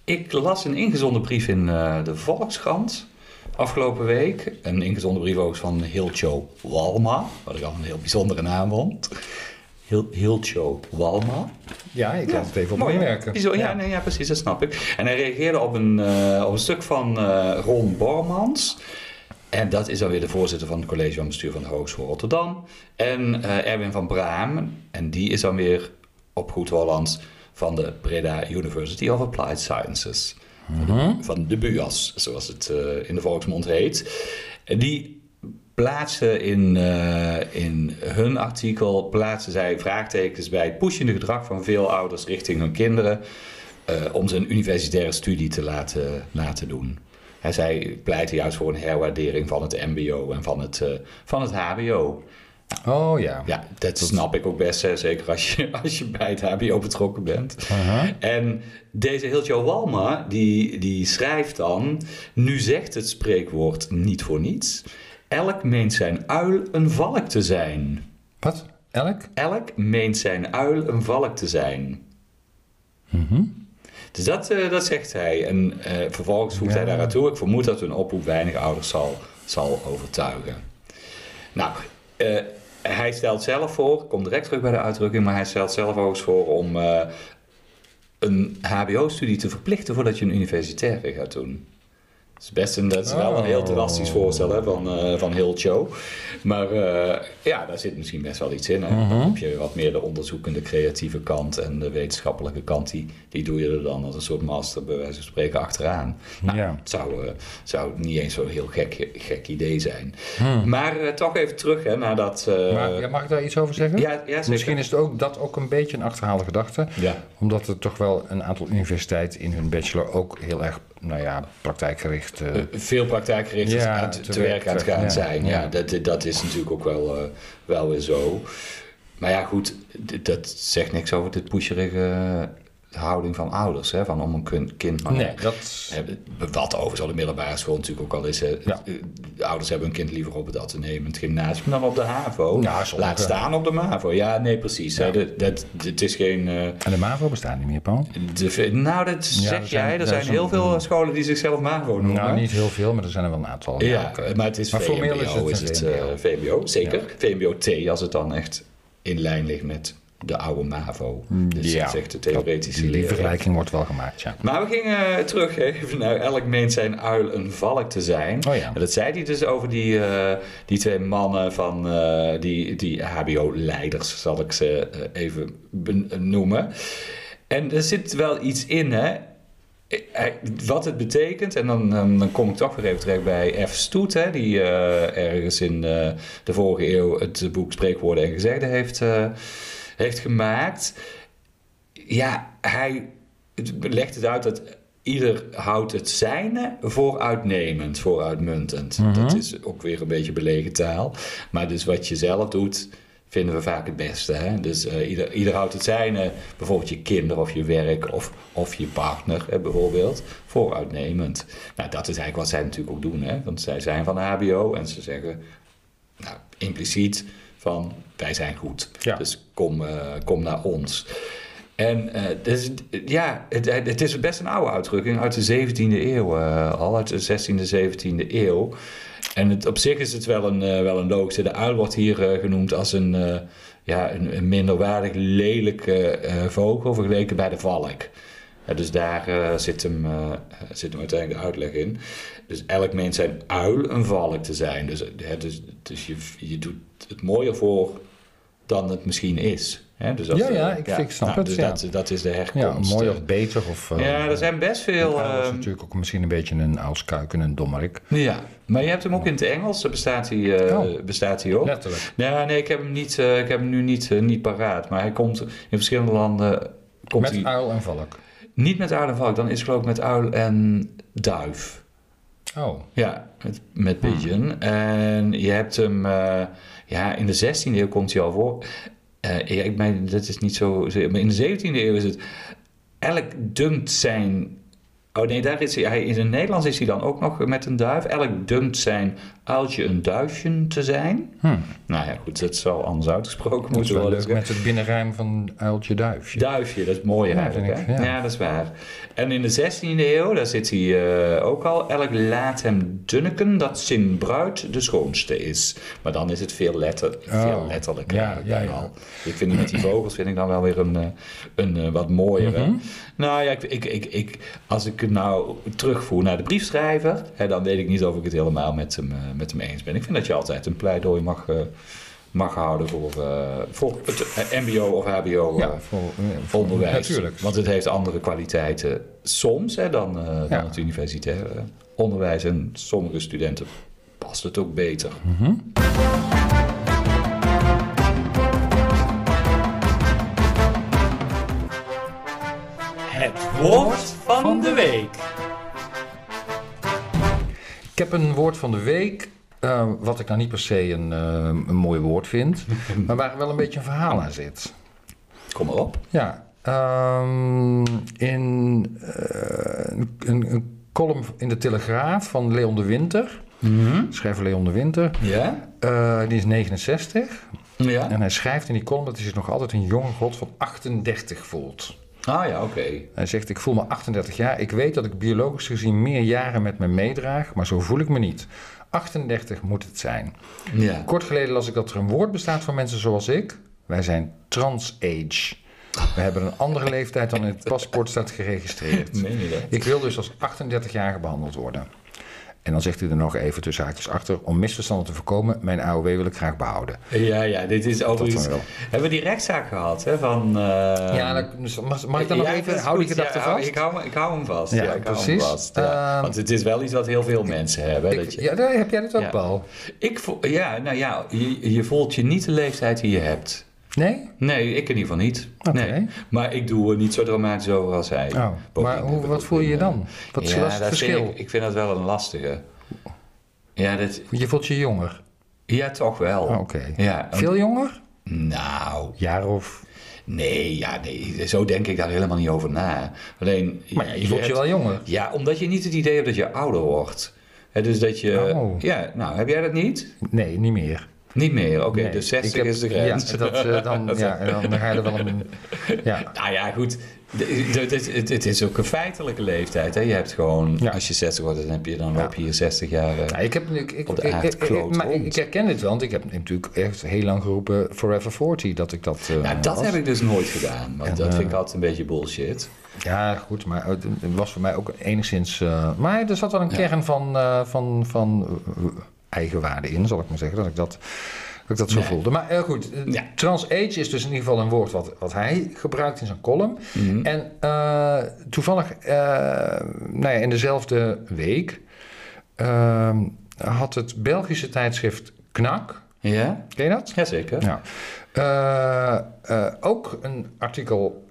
[SPEAKER 1] Ik las een ingezonden brief in eh, de Volkskrant afgelopen week. Een ingezonden brief ook van Hiltjo Walma, wat ik al een heel bijzondere naam vond. Hil- Hiltjo Walma.
[SPEAKER 2] Ja, ik laat het even op me werken.
[SPEAKER 1] Bizar, ja, nee, ja, precies, dat snap ik. En hij reageerde op een, eh, op een stuk van eh, Ron Bormans. En dat is dan weer de voorzitter van het college van bestuur van de Hogeschool Rotterdam. En eh, Erwin van Braam. En die is dan weer op goed Hollands van de Breda University of Applied Sciences. Van de, van de BUAS, zoals het eh, in de volksmond heet. En die plaatsen in, eh, in hun artikel plaatsen zij vraagtekens bij het pushende gedrag van veel ouders richting hun kinderen. eh, om zijn universitaire studie te laten, laten doen. Hè, zij pleiten juist voor een herwaardering van het MBO en van het, eh, van het HBO.
[SPEAKER 2] Oh ja.
[SPEAKER 1] Ja, dat snap ik ook best, hè, zeker als je, als je bij het HBO betrokken bent.
[SPEAKER 2] Aha.
[SPEAKER 1] En deze Hiltjo Walma, die, die schrijft dan... Nu zegt het spreekwoord niet voor niets. Elk meent zijn uil een valk te zijn.
[SPEAKER 2] Wat? Elk?
[SPEAKER 1] Elk meent zijn uil een valk te zijn.
[SPEAKER 2] Mhm.
[SPEAKER 1] Dus dat, eh, dat zegt hij. En eh, vervolgens voegt hij
[SPEAKER 2] Ja.
[SPEAKER 1] daar aan toe. Ik vermoed dat hun oproep weinig ouders zal, zal overtuigen. Nou, eh, hij stelt zelf voor, ik kom direct terug bij de uitdrukking, maar hij stelt zelf ook eens voor om eh, een HBO-studie te verplichten voordat je een universitaire gaat doen. Dat is best een, dat is wel een heel
[SPEAKER 2] Oh.
[SPEAKER 1] drastisch voorstel hè, van, eh van heel show. Maar eh, ja, daar zit misschien best wel iets in. Hè.
[SPEAKER 2] Mhm.
[SPEAKER 1] Dan heb je wat meer de onderzoekende creatieve kant en de wetenschappelijke kant. Die, die doe je er dan als een soort master, bij wijze van spreken, achteraan. Nou,
[SPEAKER 2] Ja.
[SPEAKER 1] Het zou, eh, zou niet eens zo'n heel gek, gek idee zijn. Maar eh, toch even terug hè, naar dat... eh,
[SPEAKER 2] Hmm. Maar, ja, mag ik daar iets over zeggen?
[SPEAKER 1] Ja, ja, zeker.
[SPEAKER 2] Misschien is het ook, dat ook een beetje een achterhaalde gedachte.
[SPEAKER 1] Ja.
[SPEAKER 2] Omdat er toch wel een aantal universiteiten in hun bachelor ook heel erg nou ja, praktijkgericht. eh,
[SPEAKER 1] veel praktijkgerichters
[SPEAKER 2] Ja,
[SPEAKER 1] aan het-
[SPEAKER 2] te
[SPEAKER 1] te werk aan het gaan
[SPEAKER 2] ja,
[SPEAKER 1] zijn. Ja,
[SPEAKER 2] ja.
[SPEAKER 1] Dat, dat is natuurlijk ook wel, eh, wel weer zo. Maar ja, goed, d- dat zegt niks over de pusherige houding van ouders. Hè? Van om een kun- kind maar...
[SPEAKER 2] nee, dat.
[SPEAKER 1] Eh, Wat overigens al in middelbare school natuurlijk ook al is. hè.
[SPEAKER 2] Ja.
[SPEAKER 1] Eh, De ouders hebben hun kind liever op het ateneemend gymnasium dan op de HAVO.
[SPEAKER 2] Ja, sommigen.
[SPEAKER 1] Laat staan op de MAVO. Ja, nee, precies. hè. Dat, dat, het is geen... eh,
[SPEAKER 2] En de MAVO bestaat niet meer, Paul?
[SPEAKER 1] de- nou, dat zeg
[SPEAKER 2] er zijn-
[SPEAKER 1] jij. Er
[SPEAKER 2] er
[SPEAKER 1] zijn
[SPEAKER 2] zijn-
[SPEAKER 1] heel veel scholen die zichzelf MAVO noemen.
[SPEAKER 2] mm. Nou, niet heel veel, maar er zijn er wel een aantal.
[SPEAKER 1] Ja,
[SPEAKER 2] oké.
[SPEAKER 1] maar het is
[SPEAKER 2] Maar formeel is
[SPEAKER 1] VMBO,
[SPEAKER 2] het
[SPEAKER 1] is
[SPEAKER 2] een
[SPEAKER 1] het,
[SPEAKER 2] VMBO.
[SPEAKER 1] eh, VMBO, zeker. VMBO-T, als het dan echt in lijn ligt met de oude MAVO. Dus
[SPEAKER 2] Ja.
[SPEAKER 1] dat zegt de theoretische
[SPEAKER 2] die, die
[SPEAKER 1] leraar.
[SPEAKER 2] vergelijking wordt wel gemaakt, ja.
[SPEAKER 1] Maar we gingen eh, terug even naar elk meent zijn uil een valk te zijn.
[SPEAKER 2] Oh ja.
[SPEAKER 1] En dat zei hij dus over die, eh, die twee mannen van eh, die, die HBO-leiders, zal ik ze eh, even ben- noemen. En er zit wel iets in, hè? Eh, hij- Wat het betekent, en dan, dan, dan kom ik toch weer even terecht bij F. Stoet, hè, die eh, ergens in eh, de vorige eeuw het boek Spreekwoorden en Gezegden heeft, eh, heeft gemaakt. Ja, hij legt het uit dat ieder houdt het zijne vooruitnemend, vooruitmuntend. Dat is ook weer een beetje belegen taal. Maar dus wat je zelf doet, vinden we vaak het beste. Hè? Dus eh, ieder, ieder houdt het zijne, bijvoorbeeld je kinderen of je werk of, of je partner hè, bijvoorbeeld, vooruitnemend. Nou, dat is eigenlijk wat zij natuurlijk ook doen. Hè? Want zij zijn van de HBO en ze zeggen nou, impliciet van wij zijn goed.
[SPEAKER 2] Ja.
[SPEAKER 1] Dus kom, eh, kom naar ons. En eh, dus, ja, het, het is best een oude uitdrukking uit de 17e eeuw eh, al, uit de 16e, 17e eeuw. En het, op zich is het wel een, eh, wel een logische. De uil wordt hier eh, genoemd als een, eh, ja, een, een minderwaardig lelijke eh, vogel vergeleken bij de valk. Ja, dus daar eh, zit, hem, eh, zit hem uiteindelijk de uitleg in. Dus elk mens zijn uil een valk te zijn. Dus, eh, hè, dus, dus je, je doet het mooier voor dan het misschien is. Hè, dus dat,
[SPEAKER 2] Ja, ja,
[SPEAKER 1] eh,
[SPEAKER 2] ik- ik snap het,
[SPEAKER 1] Dus
[SPEAKER 2] ja.
[SPEAKER 1] dat, dat is de
[SPEAKER 2] Ja,
[SPEAKER 1] herkomst.
[SPEAKER 2] mooi
[SPEAKER 1] eh.
[SPEAKER 2] of beter. Of, eh,
[SPEAKER 1] Ja, er zijn best veel...
[SPEAKER 2] Ja, dat is
[SPEAKER 1] ehm,
[SPEAKER 2] natuurlijk ook misschien een beetje een uilskuik en een dommerik.
[SPEAKER 1] ja, maar je hebt hem ook in het Engels, daar bestaat hij, eh,
[SPEAKER 2] Oh.
[SPEAKER 1] bestaat hij ook.
[SPEAKER 2] Letterlijk.
[SPEAKER 1] Nee, nee ik, heb hem niet, eh, ik heb hem nu niet, eh, niet paraat. Maar hij komt in verschillende landen. Komt
[SPEAKER 2] Met
[SPEAKER 1] hij,
[SPEAKER 2] uil en valk.
[SPEAKER 1] Niet met uil en valk, dan is het geloof ik met uil en duif.
[SPEAKER 2] Oh,
[SPEAKER 1] Ja, met, met
[SPEAKER 2] Hmm.
[SPEAKER 1] pigeon. En je hebt hem, eh, ja, in de 16e eeuw komt hij al voor. Eh, ja, ik meen, dat is niet zo. Maar in de 17e eeuw is het. Elk dumpt zijn. Oh nee, daar is hij, hij. In het Nederlands is hij dan ook nog met een duif. Elk dumpt zijn uiltje een duifje te zijn. Nou ja, goed, dat zal anders uitgesproken
[SPEAKER 2] Hmm. dat is
[SPEAKER 1] moeten
[SPEAKER 2] wel
[SPEAKER 1] worden.
[SPEAKER 2] leuk met het binnenrijm van uiltje duifje.
[SPEAKER 1] Duifje, dat is mooi
[SPEAKER 2] Ja,
[SPEAKER 1] eigenlijk.
[SPEAKER 2] vind
[SPEAKER 1] hè?
[SPEAKER 2] ik,
[SPEAKER 1] ja.
[SPEAKER 2] ja.
[SPEAKER 1] dat is waar. En in de 16e eeuw, daar zit hij eh, ook al. Elk laat hem dunneken dat zijn bruid de schoonste is. Maar dan is het veel, letter, veel
[SPEAKER 2] Oh,
[SPEAKER 1] letterlijker.
[SPEAKER 2] ja,
[SPEAKER 1] eigenlijk dan
[SPEAKER 2] ja, ja.
[SPEAKER 1] al. Ik vind die met die vogels vind ik dan wel weer een, eh, een eh, wat mooiere.
[SPEAKER 2] Mhm.
[SPEAKER 1] Nou ja, ik, ik, ik, ik, als ik het nou terugvoer naar de briefschrijver, hè, dan weet ik niet of ik het helemaal met hem, eh, met hem eens ben. Ik vind dat je altijd een pleidooi mag. eh, mag houden voor, eh, voor het eh, mbo of hbo eh,
[SPEAKER 2] Ja, voor, eh, voor-
[SPEAKER 1] onderwijs.
[SPEAKER 2] Natuurlijk.
[SPEAKER 1] Want het heeft andere kwaliteiten soms hè, dan, eh, dan
[SPEAKER 2] Ja.
[SPEAKER 1] het universitaire eh, onderwijs. En sommige studenten past het ook beter. Het woord van de week.
[SPEAKER 2] Ik heb een woord van de week, eh, wat ik nou niet per se een, eh, een mooi woord vind, maar waar wel een beetje een verhaal aan zit.
[SPEAKER 1] Kom maar op.
[SPEAKER 2] Ja, ehm, in eh, een, een column in de Telegraaf van Leon de Winter, schrijver Leon de Winter,
[SPEAKER 1] Ja?
[SPEAKER 2] eh, die is 69
[SPEAKER 1] Ja?
[SPEAKER 2] en hij schrijft in die column dat hij zich nog altijd een jonge god van 38 voelt.
[SPEAKER 1] Ah ja, oké.
[SPEAKER 2] Hij zegt, ik voel me 38 jaar. Ik weet dat ik biologisch gezien meer jaren met me meedraag, maar zo voel ik me niet. 38 moet het zijn.
[SPEAKER 1] Ja.
[SPEAKER 2] Kort geleden las ik dat er een woord bestaat voor mensen zoals ik. Wij zijn trans-age. We hebben een andere leeftijd dan in het paspoort staat geregistreerd.
[SPEAKER 1] Meen je dat?
[SPEAKER 2] Ik wil dus als 38-jarige behandeld worden. En dan zegt hij er nog even tussen haakjes achter... om misverstanden te voorkomen, mijn AOW wil ik graag behouden.
[SPEAKER 1] Ja, ja, dit is overigens...
[SPEAKER 2] dan wel.
[SPEAKER 1] Hebben we die rechtszaak gehad, hè, van... eh,
[SPEAKER 2] ja, dan, dus mag, mag ik dan nog
[SPEAKER 1] ja, dat
[SPEAKER 2] even...
[SPEAKER 1] is
[SPEAKER 2] Hou die
[SPEAKER 1] goed.
[SPEAKER 2] gedachte
[SPEAKER 1] Ja, hou-
[SPEAKER 2] vast.
[SPEAKER 1] Ik hou, me- ik hou hem vast. Ja,
[SPEAKER 2] Ja,
[SPEAKER 1] ik hou
[SPEAKER 2] precies.
[SPEAKER 1] hem vast. ja.
[SPEAKER 2] Ehm,
[SPEAKER 1] Want het is wel iets wat heel veel mensen hebben.
[SPEAKER 2] Ik-
[SPEAKER 1] dat je,
[SPEAKER 2] ja, daar heb jij dat ook,
[SPEAKER 1] Ja.
[SPEAKER 2] Paul.
[SPEAKER 1] ik voel, ja, nou ja, je, je voelt je niet de leeftijd die je hebt.
[SPEAKER 2] Nee?
[SPEAKER 1] Nee, ik in ieder geval niet.
[SPEAKER 2] Oké.
[SPEAKER 1] Nee. Maar ik doe er niet zo dramatisch over als hij.
[SPEAKER 2] Oh, maar
[SPEAKER 1] Bovendien
[SPEAKER 2] hoe-
[SPEAKER 1] heb ik
[SPEAKER 2] wat
[SPEAKER 1] ook
[SPEAKER 2] voel je je
[SPEAKER 1] een,
[SPEAKER 2] dan? Wat is
[SPEAKER 1] ja,
[SPEAKER 2] wat is het
[SPEAKER 1] dat
[SPEAKER 2] verschil?
[SPEAKER 1] Vind ik, ik vind dat wel een lastige. Ja, dat,
[SPEAKER 2] Je voelt je jonger.
[SPEAKER 1] ja toch wel.
[SPEAKER 2] Oh, Oké.
[SPEAKER 1] Ja, want-
[SPEAKER 2] Veel jonger?
[SPEAKER 1] Nou,
[SPEAKER 2] Jaar of...
[SPEAKER 1] nee, ja, nee, zo denk ik daar helemaal niet over na. Alleen,
[SPEAKER 2] Maar ja, je voelt je
[SPEAKER 1] hebt-
[SPEAKER 2] wel jonger.
[SPEAKER 1] Ja, omdat je niet het idee hebt dat je ouder wordt. Hè, dus dat je...
[SPEAKER 2] Oh.
[SPEAKER 1] Ja, nou, heb jij dat niet?
[SPEAKER 2] Nee, niet meer.
[SPEAKER 1] Niet meer, oké.
[SPEAKER 2] Nee,
[SPEAKER 1] dus 60
[SPEAKER 2] ik heb-
[SPEAKER 1] is de grens.
[SPEAKER 2] Ja, dat, eh, dan, ja, en dan ga je er wel een... Ja,
[SPEAKER 1] Nou ja, goed. D- d- d- Het het is ook een feitelijke leeftijd. Hè? Je hebt gewoon,
[SPEAKER 2] Ja.
[SPEAKER 1] als je 60 wordt, dan, heb je, dan
[SPEAKER 2] Ja.
[SPEAKER 1] loop je hier 60 jaar. eh.
[SPEAKER 2] Ja, ik heb nu... Ik, ik,
[SPEAKER 1] Op de
[SPEAKER 2] ik- ik-
[SPEAKER 1] aardkloot
[SPEAKER 2] ik- maar ik,
[SPEAKER 1] rond.
[SPEAKER 2] ik herken het wel, want ik heb natuurlijk echt heel lang geroepen Forever 40, dat ik dat eh,
[SPEAKER 1] Nou, dat
[SPEAKER 2] was.
[SPEAKER 1] heb ik dus nooit gedaan. Want
[SPEAKER 2] En,
[SPEAKER 1] dat vind ik
[SPEAKER 2] eh,
[SPEAKER 1] altijd een beetje bullshit.
[SPEAKER 2] Ja, goed, maar het het was voor mij ook enigszins... eh, maar er zat wel een kern van, eh, van, van eh, eigenwaarde in, zal ik maar zeggen, dat ik dat, dat, ik dat zo
[SPEAKER 1] Nee.
[SPEAKER 2] voelde. Maar eh, goed, eh,
[SPEAKER 1] Ja.
[SPEAKER 2] trans-age is dus in ieder geval een woord wat, wat hij gebruikt in zijn column. En eh, toevallig, eh, nou ja, in dezelfde week eh, had het Belgische tijdschrift Knak,
[SPEAKER 1] Ja?
[SPEAKER 2] ken je dat?
[SPEAKER 1] Jazeker.
[SPEAKER 2] Ja. Eh, eh, ook een artikel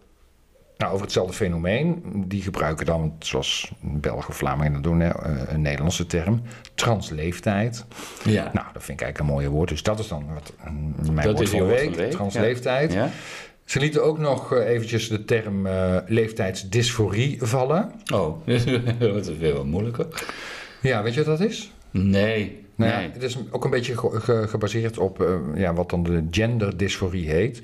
[SPEAKER 2] nou, over hetzelfde fenomeen. Die gebruiken dan, zoals Belgen of Vlamingen dat doen, hè, eh, een Nederlandse term, transleeftijd.
[SPEAKER 1] Ja.
[SPEAKER 2] Nou, dat vind ik eigenlijk een mooie woord. Dus dat is dan wat, eh, mijn
[SPEAKER 1] Dat
[SPEAKER 2] woord
[SPEAKER 1] is
[SPEAKER 2] van
[SPEAKER 1] je
[SPEAKER 2] de
[SPEAKER 1] woord
[SPEAKER 2] week,
[SPEAKER 1] van de week,
[SPEAKER 2] transleeftijd.
[SPEAKER 1] Ja?
[SPEAKER 2] Ze lieten ook nog eh, eventjes de term eh, leeftijdsdysforie vallen.
[SPEAKER 1] Oh, dat is weer wat moeilijker.
[SPEAKER 2] Ja, weet je wat dat is?
[SPEAKER 1] Nee.
[SPEAKER 2] Nou,
[SPEAKER 1] nee.
[SPEAKER 2] ja, het is ook een beetje ge- ge- gebaseerd op eh, ja, wat dan de genderdysforie heet.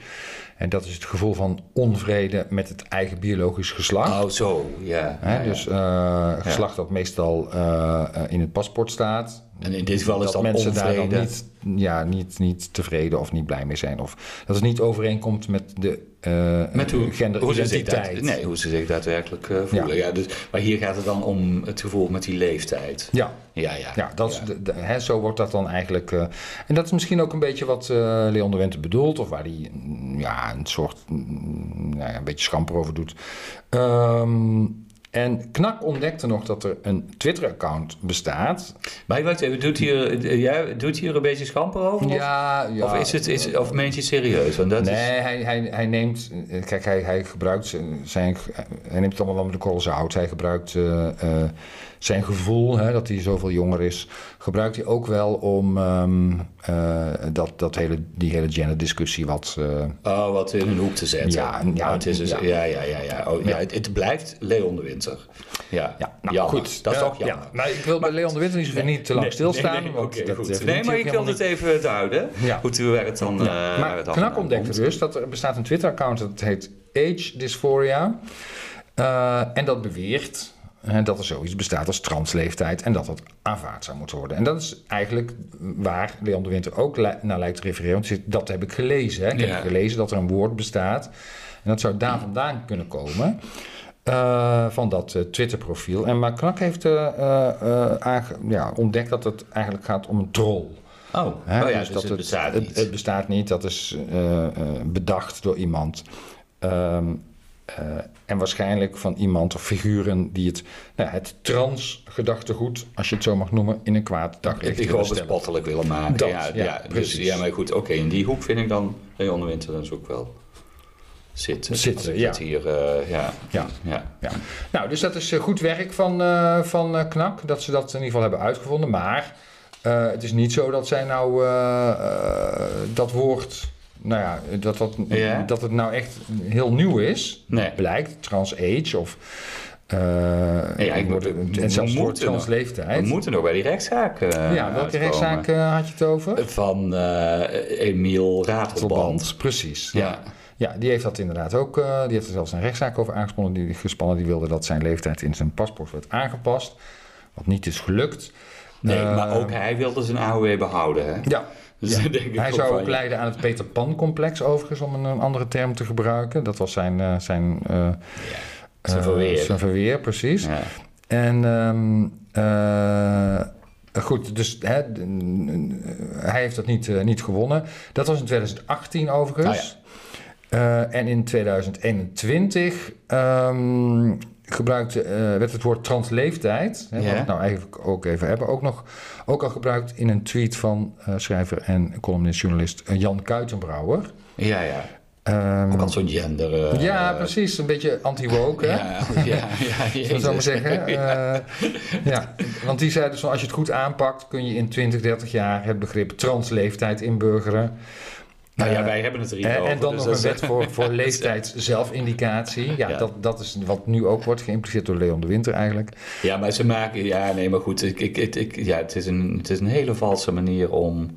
[SPEAKER 2] En dat is het gevoel van onvrede met het eigen biologisch geslacht.
[SPEAKER 1] Oh, zo. Ja.
[SPEAKER 2] Hè,
[SPEAKER 1] ja, ja.
[SPEAKER 2] Dus eh, geslacht dat meestal eh, eh, in het paspoort staat.
[SPEAKER 1] En in dit geval is dat
[SPEAKER 2] mensen daar
[SPEAKER 1] onvrede.
[SPEAKER 2] dan niet, ja, niet, niet tevreden of niet blij mee zijn. Of dat het niet overeenkomt met de eh
[SPEAKER 1] Met hoe, hoe ze zich
[SPEAKER 2] genderidentiteit.
[SPEAKER 1] daad- nee, hoe ze zich daadwerkelijk eh, voelen. Ja. dus, maar hier gaat het dan om het gevoel met die leeftijd.
[SPEAKER 2] Ja,
[SPEAKER 1] Ja, ja.
[SPEAKER 2] Ja, dat is de- de- hè, zo wordt dat dan eigenlijk. eh, en dat is misschien ook een beetje wat eh, Leon de Winter bedoelt, of waar hij mm, ja, een soort. mm, nou ja, een beetje schamper over doet. Ehm, en Knak ontdekte nog dat er een Twitter-account bestaat.
[SPEAKER 1] Maar wacht even, doet hier, eh, jij doet hier een beetje schamper over? of-
[SPEAKER 2] Ja, ja.
[SPEAKER 1] Of, is het, is, of meent je het serieus? Want dat is,
[SPEAKER 2] Nee, hij, hij, hij neemt. eh, Kijk, hij, hij gebruikt zijn- zijn. Hij neemt het allemaal wel met de korrel zout. Hij gebruikt eh, eh, zijn gevoel, hè, dat hij zoveel jonger is. Gebruikt hij ook wel om ehm, eh, dat, dat hele, die hele genderdiscussie wat. eh,
[SPEAKER 1] oh, wat in een hoek te zetten.
[SPEAKER 2] Ja, ja,
[SPEAKER 1] Nou, het is dus,
[SPEAKER 2] ja.
[SPEAKER 1] ja. Ja, ja, ja, Oh, ja, het, het blijft Leon de Winter. Ja,
[SPEAKER 2] ja, nou
[SPEAKER 1] Jammer.
[SPEAKER 2] goed.
[SPEAKER 1] Dat is
[SPEAKER 2] Eh,
[SPEAKER 1] toch jammer.
[SPEAKER 2] Ja. Nou, ik wil bij Leon de Winter niet, zo- niet te lang
[SPEAKER 1] Nee,
[SPEAKER 2] stilstaan.
[SPEAKER 1] nee, nee,
[SPEAKER 2] want
[SPEAKER 1] oké,
[SPEAKER 2] dat, eh,
[SPEAKER 1] goed.
[SPEAKER 2] verdient
[SPEAKER 1] nee,
[SPEAKER 2] hij
[SPEAKER 1] maar
[SPEAKER 2] ook
[SPEAKER 1] ik wil
[SPEAKER 2] helemaal
[SPEAKER 1] het even duiden.
[SPEAKER 2] Ja.
[SPEAKER 1] Hoe toe werd het dan... eh, waar
[SPEAKER 2] Maar
[SPEAKER 1] het dan
[SPEAKER 2] Knak
[SPEAKER 1] vandaan
[SPEAKER 2] ontdekte
[SPEAKER 1] komt.
[SPEAKER 2] dus dat er bestaat een Twitter-account dat heet Age Dysphoria. Eh, en dat beweert eh, dat er zoiets bestaat als transleeftijd en dat dat aanvaard zou moeten worden. En dat is eigenlijk waar Leon de Winter ook li- naar lijkt te refereren. Want hij zegt, dat heb ik gelezen. Hè. Ik
[SPEAKER 1] Ja.
[SPEAKER 2] heb gelezen dat er een woord bestaat. En dat zou daar vandaan kunnen komen. eh, van dat eh, Twitter-profiel. En maar Knak heeft eh, eh, eh, aange- ja, ontdekt dat het eigenlijk gaat om een troll.
[SPEAKER 1] Oh, oh
[SPEAKER 2] Hè,
[SPEAKER 1] ja,
[SPEAKER 2] dus
[SPEAKER 1] dus, dat het bestaat
[SPEAKER 2] het,
[SPEAKER 1] niet.
[SPEAKER 2] het bestaat niet, dat is eh, eh, bedacht door iemand. Ehm, eh, en waarschijnlijk van iemand of figuren die het, nou, het trans-gedachtegoed, als je het zo mag noemen, in een kwaad daglicht
[SPEAKER 1] ik
[SPEAKER 2] willen
[SPEAKER 1] gewoon
[SPEAKER 2] stellen.
[SPEAKER 1] bespottelijk willen maken.
[SPEAKER 2] Dat,
[SPEAKER 1] ja,
[SPEAKER 2] ja,
[SPEAKER 1] ja, dus,
[SPEAKER 2] precies.
[SPEAKER 1] Dus ja, maar goed, oké, in die hoek vind ik dan Leon de Winter dan is ook wel. zit.
[SPEAKER 2] Zit,
[SPEAKER 1] Als ik
[SPEAKER 2] ja.
[SPEAKER 1] dat hier, eh, ja.
[SPEAKER 2] Ja.
[SPEAKER 1] ja.
[SPEAKER 2] Ja. Nou, dus dat is eh, goed werk van, eh, van eh, Knak, dat ze dat in ieder geval hebben uitgevonden. Maar eh, het is niet zo dat zij nou eh, eh, dat woord, nou ja, dat, dat,
[SPEAKER 1] Ja.
[SPEAKER 2] dat het nou echt heel nieuw is.
[SPEAKER 1] Nee.
[SPEAKER 2] Blijkt, trans-age of... eh,
[SPEAKER 1] ja, ik
[SPEAKER 2] wordt-
[SPEAKER 1] moet-
[SPEAKER 2] en zelfs
[SPEAKER 1] we
[SPEAKER 2] wordt
[SPEAKER 1] moeten
[SPEAKER 2] transleeftijd.
[SPEAKER 1] We moeten nog bij die rechtszaak eh,
[SPEAKER 2] ja, welke
[SPEAKER 1] uitkomen.
[SPEAKER 2] rechtszaak eh, had je het over?
[SPEAKER 1] Van eh Emiel Ratelband.
[SPEAKER 2] Verband, precies.
[SPEAKER 1] Ja.
[SPEAKER 2] Ja, die heeft dat inderdaad ook. eh, die heeft er zelfs een rechtszaak over aangespannen. Die, gespannen, die wilde dat zijn leeftijd in zijn paspoort werd aangepast. Wat niet is gelukt.
[SPEAKER 1] Nee,
[SPEAKER 2] Eh,
[SPEAKER 1] maar ook hij wilde zijn AOW behouden, hè?
[SPEAKER 2] Ja.
[SPEAKER 1] Dus dan denk ik
[SPEAKER 2] Hij
[SPEAKER 1] ook
[SPEAKER 2] zou
[SPEAKER 1] van,
[SPEAKER 2] ook
[SPEAKER 1] ja.
[SPEAKER 2] leiden aan het Peter Pan-complex, overigens, om een, een andere term te gebruiken. Dat was zijn, eh, zijn, eh,
[SPEAKER 1] Zijn
[SPEAKER 2] eh,
[SPEAKER 1] verweer.
[SPEAKER 2] zijn verweer, precies.
[SPEAKER 1] Ja.
[SPEAKER 2] En ehm, eh, goed, dus hè, d- n- n- hij heeft dat niet, eh, niet gewonnen. Dat was in 2018 overigens.
[SPEAKER 1] Ah,
[SPEAKER 2] Eh, en in 2021 ehm, gebruikte, eh, werd het woord transleeftijd, hè, wat
[SPEAKER 1] Ja.
[SPEAKER 2] we het nou eigenlijk ook even hebben, ook, nog, ook al gebruikt in een tweet van eh, schrijver en columnist-journalist eh, Jan Kuitenbrouwer.
[SPEAKER 1] Ja, ja.
[SPEAKER 2] Ehm,
[SPEAKER 1] Ook al zo'n gender... eh,
[SPEAKER 2] ja, precies. Een beetje anti-woke, hè?
[SPEAKER 1] Ja, ja, ja.
[SPEAKER 2] Zullen we
[SPEAKER 1] jezus.
[SPEAKER 2] het zo maar zeggen. Eh, ja, want die zei dus van als je het goed aanpakt, kun je in 20, 30 jaar het begrip transleeftijd inburgeren.
[SPEAKER 1] Nou ja,
[SPEAKER 2] Eh,
[SPEAKER 1] wij hebben het er hier
[SPEAKER 2] en,
[SPEAKER 1] over.
[SPEAKER 2] en dan
[SPEAKER 1] dus
[SPEAKER 2] nog
[SPEAKER 1] dat
[SPEAKER 2] een
[SPEAKER 1] is-
[SPEAKER 2] wet voor, voor leeftijdszelfindicatie. Ja,
[SPEAKER 1] Ja.
[SPEAKER 2] Dat, dat is wat nu ook wordt geïmpliceerd door Leon de Winter eigenlijk.
[SPEAKER 1] Ja, maar ze maken... Ja, nee, maar goed. Ik, ik, ik, ik- ja, het, is een, het is een hele valse manier om,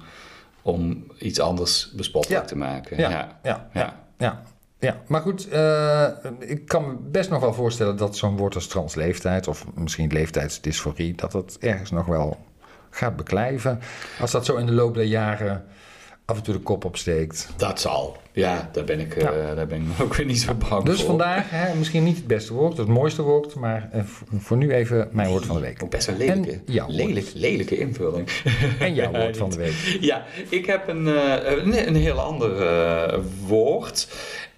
[SPEAKER 1] om iets anders bespottelijk
[SPEAKER 2] Ja.
[SPEAKER 1] te maken.
[SPEAKER 2] Ja,
[SPEAKER 1] ja.
[SPEAKER 2] ja,
[SPEAKER 1] ja.
[SPEAKER 2] ja. ja. Maar goed, eh, ik kan me best nog wel voorstellen dat zo'n woord als transleeftijd... of misschien leeftijdsdysforie, dat dat ergens nog wel gaat beklijven. Als dat zo in de loop der jaren af en toe de kop opsteekt...
[SPEAKER 1] Dat zal. Ja, daar ben ik, eh,
[SPEAKER 2] Ja.
[SPEAKER 1] daar ben ik ook weer niet zo bang
[SPEAKER 2] Dus
[SPEAKER 1] voor.
[SPEAKER 2] vandaag hè, misschien niet het beste woord, het mooiste woord, maar eh, v- voor nu even mijn woord van de week.
[SPEAKER 1] Ook Best een lelijke,
[SPEAKER 2] En jouw woord.
[SPEAKER 1] lelijk, lelijke invulling.
[SPEAKER 2] En jouw woord van de week.
[SPEAKER 1] Ja, ik heb een, eh, een, een heel ander eh, woord.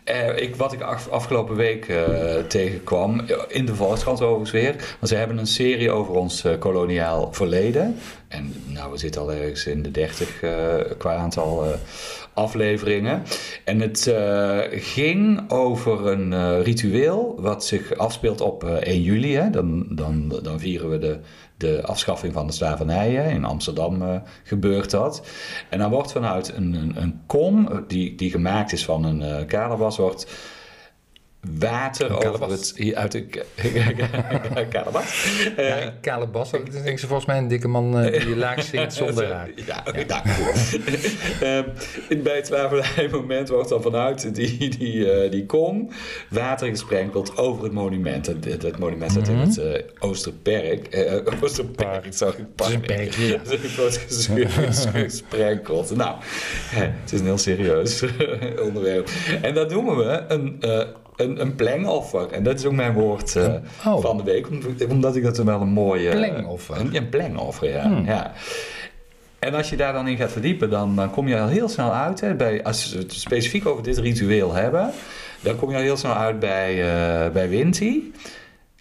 [SPEAKER 1] Eh, ik, wat ik af- afgelopen week eh, tegenkwam, in de Volkskrant overigens weer. Want ze hebben een serie over ons eh, koloniaal verleden. En nou, we zitten al ergens in de 30 eh, qua aantal eh, afleveringen. En het eh, ging over een eh, ritueel wat zich afspeelt op eh, 1 juli. Hè? Dan, dan, dan vieren we de, de afschaffing van de slavernij. hè. In Amsterdam eh, gebeurt dat. En dan wordt vanuit een, een, een kom, eh, die, die gemaakt is van een eh kalebas, wordt water over
[SPEAKER 2] kalebas.
[SPEAKER 1] het... hier Uit de ka- kalebas. Eh,
[SPEAKER 2] Ja, ik- Kale Bas, dat is denk ik volgens mij een dikke man eh, die je laag zingt zonder raak.
[SPEAKER 1] Ja, ja. Ehm, in- bij het slavernijmoment wordt dan vanuit die, die, eh, die kom water gesprenkeld over het monument. Het, het- het monument staat
[SPEAKER 2] Mhm.
[SPEAKER 1] in het eh, Oosterperk. Eh, Oosterperk, sorry.
[SPEAKER 2] Het is een perkje, ja.
[SPEAKER 1] Het wordt ges- gesprenkeld. Nou, hè, het is een heel serieus onderwerp. En dat noemen we een... eh, een, een plengoffer. En dat is ook mijn woord eh,
[SPEAKER 2] Oh.
[SPEAKER 1] van de week. om- Omdat ik dat wel een mooie...
[SPEAKER 2] Plengoffer.
[SPEAKER 1] Eh, Een, een plengoffer, ja.
[SPEAKER 2] Hmm.
[SPEAKER 1] ja. En als je daar dan in gaat verdiepen, dan, dan kom je al heel snel uit. Hè, bij, als we het specifiek over dit ritueel hebben, dan kom je al heel snel uit bij, eh, bij Winty.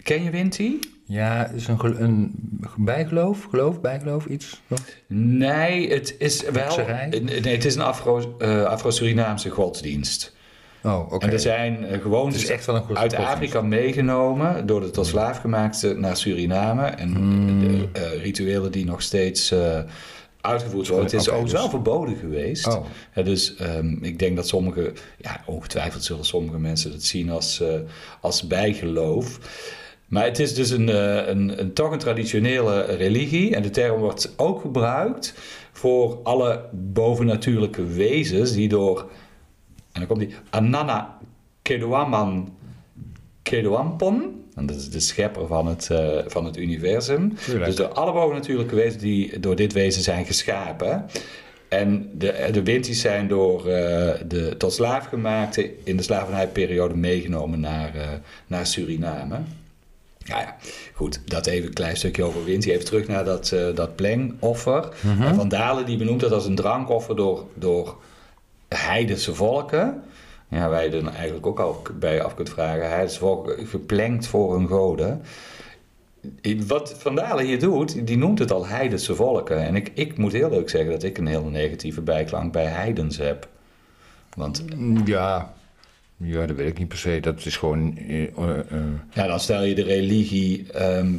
[SPEAKER 1] Ken je Winty?
[SPEAKER 2] Ja, het is een, gel- een bijgeloof, geloof, bijgeloof, iets.
[SPEAKER 1] Nee, het is wel.
[SPEAKER 2] Hekserij?
[SPEAKER 1] Nee, het is een Afro, eh, Afro-Surinaamse godsdienst.
[SPEAKER 2] Oh, oké.
[SPEAKER 1] En er zijn eh, gewoon
[SPEAKER 2] Het is echt wel een goed
[SPEAKER 1] uit
[SPEAKER 2] godsdienst.
[SPEAKER 1] Afrika meegenomen, door de tot slaaf gemaakte naar Suriname. En de, eh, rituelen die nog steeds eh, uitgevoerd worden. Het is
[SPEAKER 2] Oké,
[SPEAKER 1] ook
[SPEAKER 2] dus-
[SPEAKER 1] wel verboden geweest.
[SPEAKER 2] Oh.
[SPEAKER 1] Ja, dus ehm, ik denk dat sommige, ja, ongetwijfeld zullen sommige mensen dat zien als, eh, als bijgeloof. Maar het is dus een, eh, een, een, toch een traditionele religie. En de term wordt ook gebruikt voor alle bovennatuurlijke wezens die door en dan komt die Anana Kedwaman Kedwampon. En dat is de schepper van het, eh, van het universum.
[SPEAKER 2] Tuurlijk.
[SPEAKER 1] Dus door alle bovennatuurlijke wezens die door dit wezen zijn geschapen. En de, eh, de Winties zijn door eh, de tot slaaf gemaakte in de slavernijperiode meegenomen naar, eh, naar Suriname. Ja, ja, goed, dat even een klein stukje over Winty. Even terug naar dat, eh, dat plengoffer. En Van Dalen die benoemt dat als een drankoffer door, door heidense volken. Ja, wij er eigenlijk ook al bij af kunt vragen. Heidense volken, geplengd voor hun goden. Wat Van Dalen hier doet, die noemt het al heidense volken. En ik, ik moet heel leuk zeggen dat ik een hele negatieve bijklank bij heidens heb. Want
[SPEAKER 2] mm, Ja, Ja, dat weet ik niet per se. Dat is gewoon. eh, eh, eh,
[SPEAKER 1] Ja, dan stel je de religie, ehm,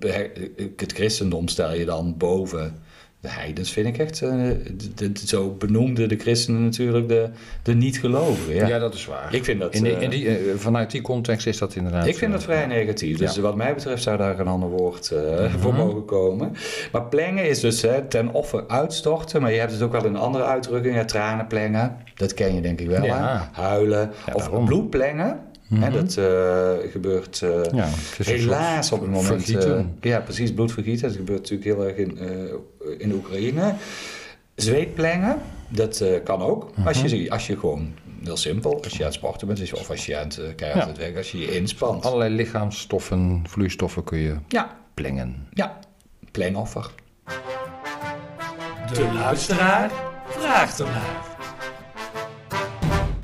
[SPEAKER 1] he- het christendom stel je dan boven de heidens, vind ik echt. eh, d- d- zo benoemden de christenen natuurlijk de, de niet-gelovigen. Ja.
[SPEAKER 2] ja. dat is waar.
[SPEAKER 1] Ik vind dat,
[SPEAKER 2] in die,
[SPEAKER 1] eh,
[SPEAKER 2] in die, eh, vanuit die context is dat inderdaad.
[SPEAKER 1] ik vind
[SPEAKER 2] eh,
[SPEAKER 1] dat vrij negatief. Dus wat mij betreft zou daar een ander woord eh, voor mogen komen. Maar plengen is dus hè, ten offer uitstorten. Maar je hebt het ook wel een andere uitdrukking. Hè, tranen plengen. Dat ken je denk ik wel. hè?
[SPEAKER 2] Ja.
[SPEAKER 1] Huilen.
[SPEAKER 2] Ja,
[SPEAKER 1] of
[SPEAKER 2] daarom. Mhm.
[SPEAKER 1] bloed plengen. Hè, dat eh, gebeurt eh,
[SPEAKER 2] Ja, het is een
[SPEAKER 1] helaas
[SPEAKER 2] soort
[SPEAKER 1] op het moment.
[SPEAKER 2] vergieten.
[SPEAKER 1] eh, ja, precies. Bloedvergieten. Dat gebeurt natuurlijk heel erg in, eh, in Oekraïne. Zweetplengen, dat eh, kan ook. als,
[SPEAKER 2] Mhm.
[SPEAKER 1] je, als je gewoon, heel simpel, als je aan het sporten bent is- of als je aan het, eh, keihard
[SPEAKER 2] Ja.
[SPEAKER 1] aan het werk, als je je inspant.
[SPEAKER 2] Allerlei lichaamsstoffen, vloeistoffen kun je
[SPEAKER 1] Ja,
[SPEAKER 2] plengen.
[SPEAKER 1] ja, pleinoffer.
[SPEAKER 4] De luisteraar vraagt ernaar.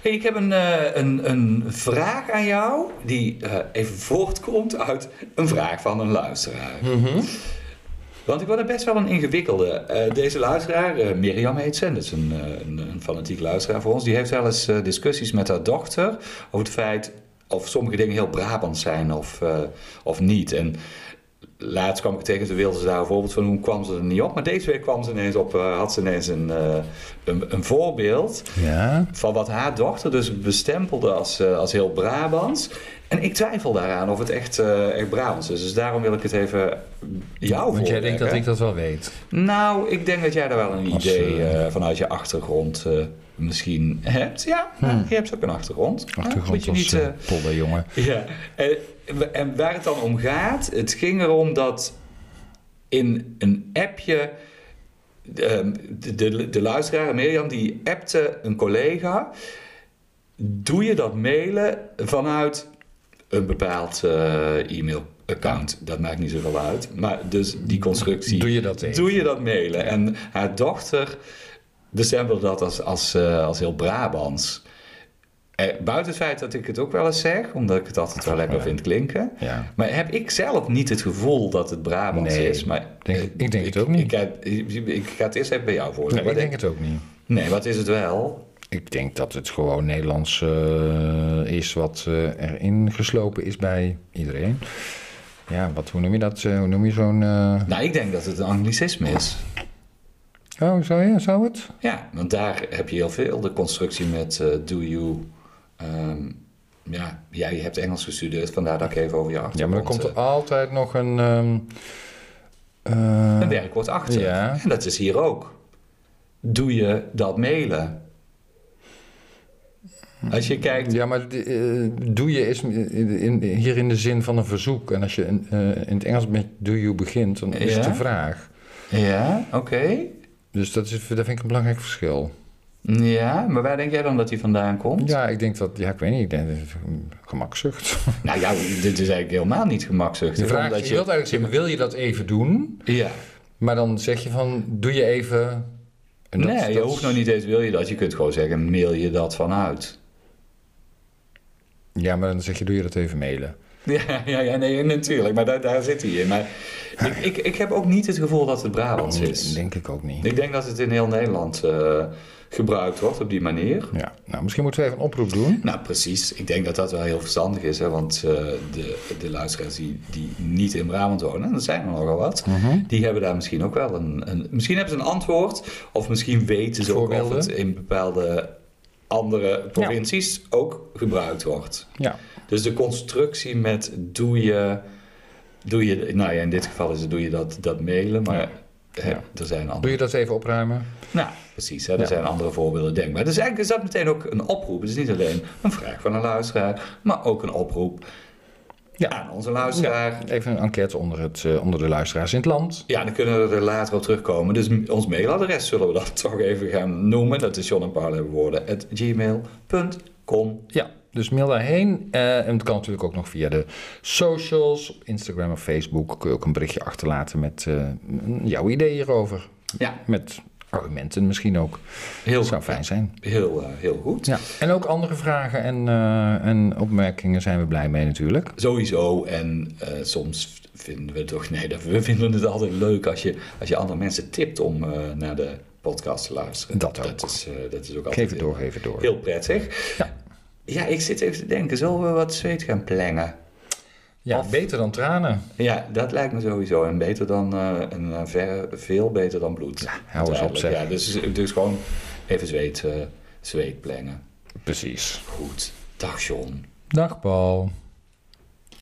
[SPEAKER 1] Hey, ik heb een, eh, een, een vraag aan jou, die eh, even voortkomt uit een vraag van een luisteraar. Want ik vond het best wel een ingewikkelde. Eh, deze luisteraar, eh, Mirjam heet ze, en dat is een, eh, een, een fanatiek luisteraar voor ons. Die heeft wel eens eh, discussies met haar dochter over het feit of sommige dingen heel Brabant zijn of, eh, of niet. En laatst kwam ik tegen, ze wilde ze daar een voorbeeld van, hoe kwam ze er niet op? Maar deze week kwam ze ineens op, eh, had ze ineens een, eh, een, een voorbeeld
[SPEAKER 2] Ja.
[SPEAKER 1] van wat haar dochter dus bestempelde als, eh, als heel Brabants. En ik twijfel daaraan of het echt, eh, echt Brabants is. Dus daarom wil ik het even jou
[SPEAKER 2] Want jij denkt dat
[SPEAKER 1] voorleggen.
[SPEAKER 2] ik dat wel weet.
[SPEAKER 1] Nou, ik denk dat jij daar wel een
[SPEAKER 2] Als,
[SPEAKER 1] idee
[SPEAKER 2] eh,
[SPEAKER 1] eh, vanuit je achtergrond eh, misschien hebt. Ja, je hebt ook een achtergrond. Ja, moet
[SPEAKER 2] Hmm. Achtergrond
[SPEAKER 1] je
[SPEAKER 2] als
[SPEAKER 1] niet,
[SPEAKER 2] eh,
[SPEAKER 1] eh,
[SPEAKER 2] polderjongen.
[SPEAKER 1] ja, en, en waar het dan om gaat, het ging erom dat in een appje. ehm, De, de, de luisteraar Mirjam die appte een collega. Doe je dat mailen vanuit een bepaald eh, e-mailaccount? Dat maakt niet zoveel uit. Maar dus die constructie.
[SPEAKER 2] Doe je dat even?
[SPEAKER 1] Doe je dat mailen? En haar dochter bestempelde dat als, als, eh, als heel Brabants. Eh, buiten het feit dat ik het ook wel eens zeg, omdat ik het altijd wel lekker vind klinken.
[SPEAKER 2] Ja.
[SPEAKER 1] Maar heb ik zelf niet het gevoel dat het Brabants
[SPEAKER 2] Nee,
[SPEAKER 1] is. Maar,
[SPEAKER 2] denk-
[SPEAKER 1] eh,
[SPEAKER 2] ik denk het ook niet.
[SPEAKER 1] Ik, ga- ik- ik ga het eerst even bij jou
[SPEAKER 2] Nee,
[SPEAKER 1] voorleggen.
[SPEAKER 2] ik
[SPEAKER 1] Wat
[SPEAKER 2] denk het ook niet.
[SPEAKER 1] nee, wat is het wel?
[SPEAKER 2] Ik denk dat het gewoon Nederlands eh, is wat eh, erin geslopen is bij iedereen. Ja, wat, hoe noem je dat? Eh, hoe noem je zo'n... eh,
[SPEAKER 1] Nou, ik denk dat het een anglicisme is.
[SPEAKER 2] Oh, zou, ja, zou het?
[SPEAKER 1] Ja, want daar heb je heel veel. De constructie met eh, do you... ehm, ja, jij hebt Engels gestudeerd, vandaar dat ik even over je achtergrond...
[SPEAKER 2] Ja, maar dan komt
[SPEAKER 1] eh,
[SPEAKER 2] er altijd nog een... ehm, eh,
[SPEAKER 1] een werkwoord achter.
[SPEAKER 2] Ja.
[SPEAKER 1] En dat is hier ook. Doe je dat mailen? Als je kijkt...
[SPEAKER 2] ja, maar die, eh, doe je is in, in- hier in de zin van een verzoek. En als je in, eh, in het Engels met do you begint, dan is het
[SPEAKER 1] Ja?
[SPEAKER 2] een vraag.
[SPEAKER 1] Ja, oké.
[SPEAKER 2] Dus dat, is, dat vind ik een belangrijk verschil.
[SPEAKER 1] Ja, maar waar denk jij dan dat die vandaan komt?
[SPEAKER 2] Ja, ik denk dat... Ja, ik weet niet. Ik denk dat het een gemakzucht.
[SPEAKER 1] Nou ja, dit is eigenlijk helemaal niet gemakzuchtig.
[SPEAKER 2] De vraag, je
[SPEAKER 1] omdat
[SPEAKER 2] wilt eigenlijk zeggen, wil je dat even doen?
[SPEAKER 1] Ja.
[SPEAKER 2] Maar dan zeg je van, doe je even... En dat-
[SPEAKER 1] nee, je
[SPEAKER 2] dat-
[SPEAKER 1] hoeft nog niet eens wil je dat. Je kunt gewoon zeggen, mail je dat vanuit.
[SPEAKER 2] Ja, maar dan zeg je, doe je dat even mailen?
[SPEAKER 1] Ja, ja, ja nee, natuurlijk. Maar daar, daar zit hij in. Maar ik, ik, ik heb ook niet het gevoel dat het Brabants is.
[SPEAKER 2] Denk ik ook niet.
[SPEAKER 1] Ik denk dat het in heel Nederland eh, gebruikt wordt op die manier.
[SPEAKER 2] Ja, nou, misschien moeten we even een oproep doen.
[SPEAKER 1] Nou, precies. Ik denk dat dat wel heel verstandig is. Hè? Want eh, de, de luisteraars die, die niet in Brabant wonen, en dat zijn er nogal wat,
[SPEAKER 2] Mhm.
[SPEAKER 1] die hebben daar misschien ook wel een, een. Misschien hebben ze een antwoord, of misschien weten ze ook of
[SPEAKER 2] Voorbeelden?
[SPEAKER 1] het in bepaalde andere provincies ook gebruikt wordt.
[SPEAKER 2] Ja.
[SPEAKER 1] Dus de constructie met doe je. Doe je nou ja, in dit geval is het doe je dat, dat mailen, maar. hè,
[SPEAKER 2] Ja.
[SPEAKER 1] Er zijn andere
[SPEAKER 2] Doe je dat even opruimen?
[SPEAKER 1] nou, precies. Hè? Er zijn andere voorbeelden denkbaar. Dus eigenlijk is dat meteen ook een oproep. Het is niet alleen een vraag van een luisteraar, maar ook een oproep
[SPEAKER 2] Ja.
[SPEAKER 1] aan onze luisteraar. Ja.
[SPEAKER 2] Even een enquête onder, het, eh, onder de luisteraars in het land.
[SPEAKER 1] dan kunnen we er later op terugkomen. Dus m- ons mailadres zullen we dat toch even gaan noemen. Dat is John en Paul hebben woorden. at gmail.com.
[SPEAKER 2] Ja. Dus mail daarheen. Eh, en het kan natuurlijk ook nog via de socials. Op Instagram of Facebook kun je ook een berichtje achterlaten met eh, jouw idee hierover.
[SPEAKER 1] Ja,
[SPEAKER 2] Met argumenten misschien ook.
[SPEAKER 1] heel,
[SPEAKER 2] Dat zou fijn zijn.
[SPEAKER 1] heel, eh, heel goed.
[SPEAKER 2] Ja, en ook andere vragen en, eh, en opmerkingen zijn we blij mee natuurlijk.
[SPEAKER 1] Sowieso. En eh, soms vinden we toch... Nee, dat- we vinden het altijd leuk als je, als je andere mensen tipt om eh, naar de podcast te luisteren.
[SPEAKER 2] Dat ook.
[SPEAKER 1] is, eh, dat is ook altijd
[SPEAKER 2] Geef het
[SPEAKER 1] heel-
[SPEAKER 2] door, geef het door.
[SPEAKER 1] Heel prettig.
[SPEAKER 2] Ja.
[SPEAKER 1] Ja, ik zit even te denken. Zullen we wat zweet gaan plengen?
[SPEAKER 2] Ja,
[SPEAKER 1] Of-
[SPEAKER 2] beter dan tranen.
[SPEAKER 1] Ja, dat lijkt me sowieso. En beter dan, eh, een, eh, verre- veel beter dan bloed. Ja,
[SPEAKER 2] hou eens op, zeg.
[SPEAKER 1] Ja, dus, dus gewoon even zweet, eh, zweet plengen.
[SPEAKER 2] Precies.
[SPEAKER 1] Goed. Dag John.
[SPEAKER 2] Dag Paul.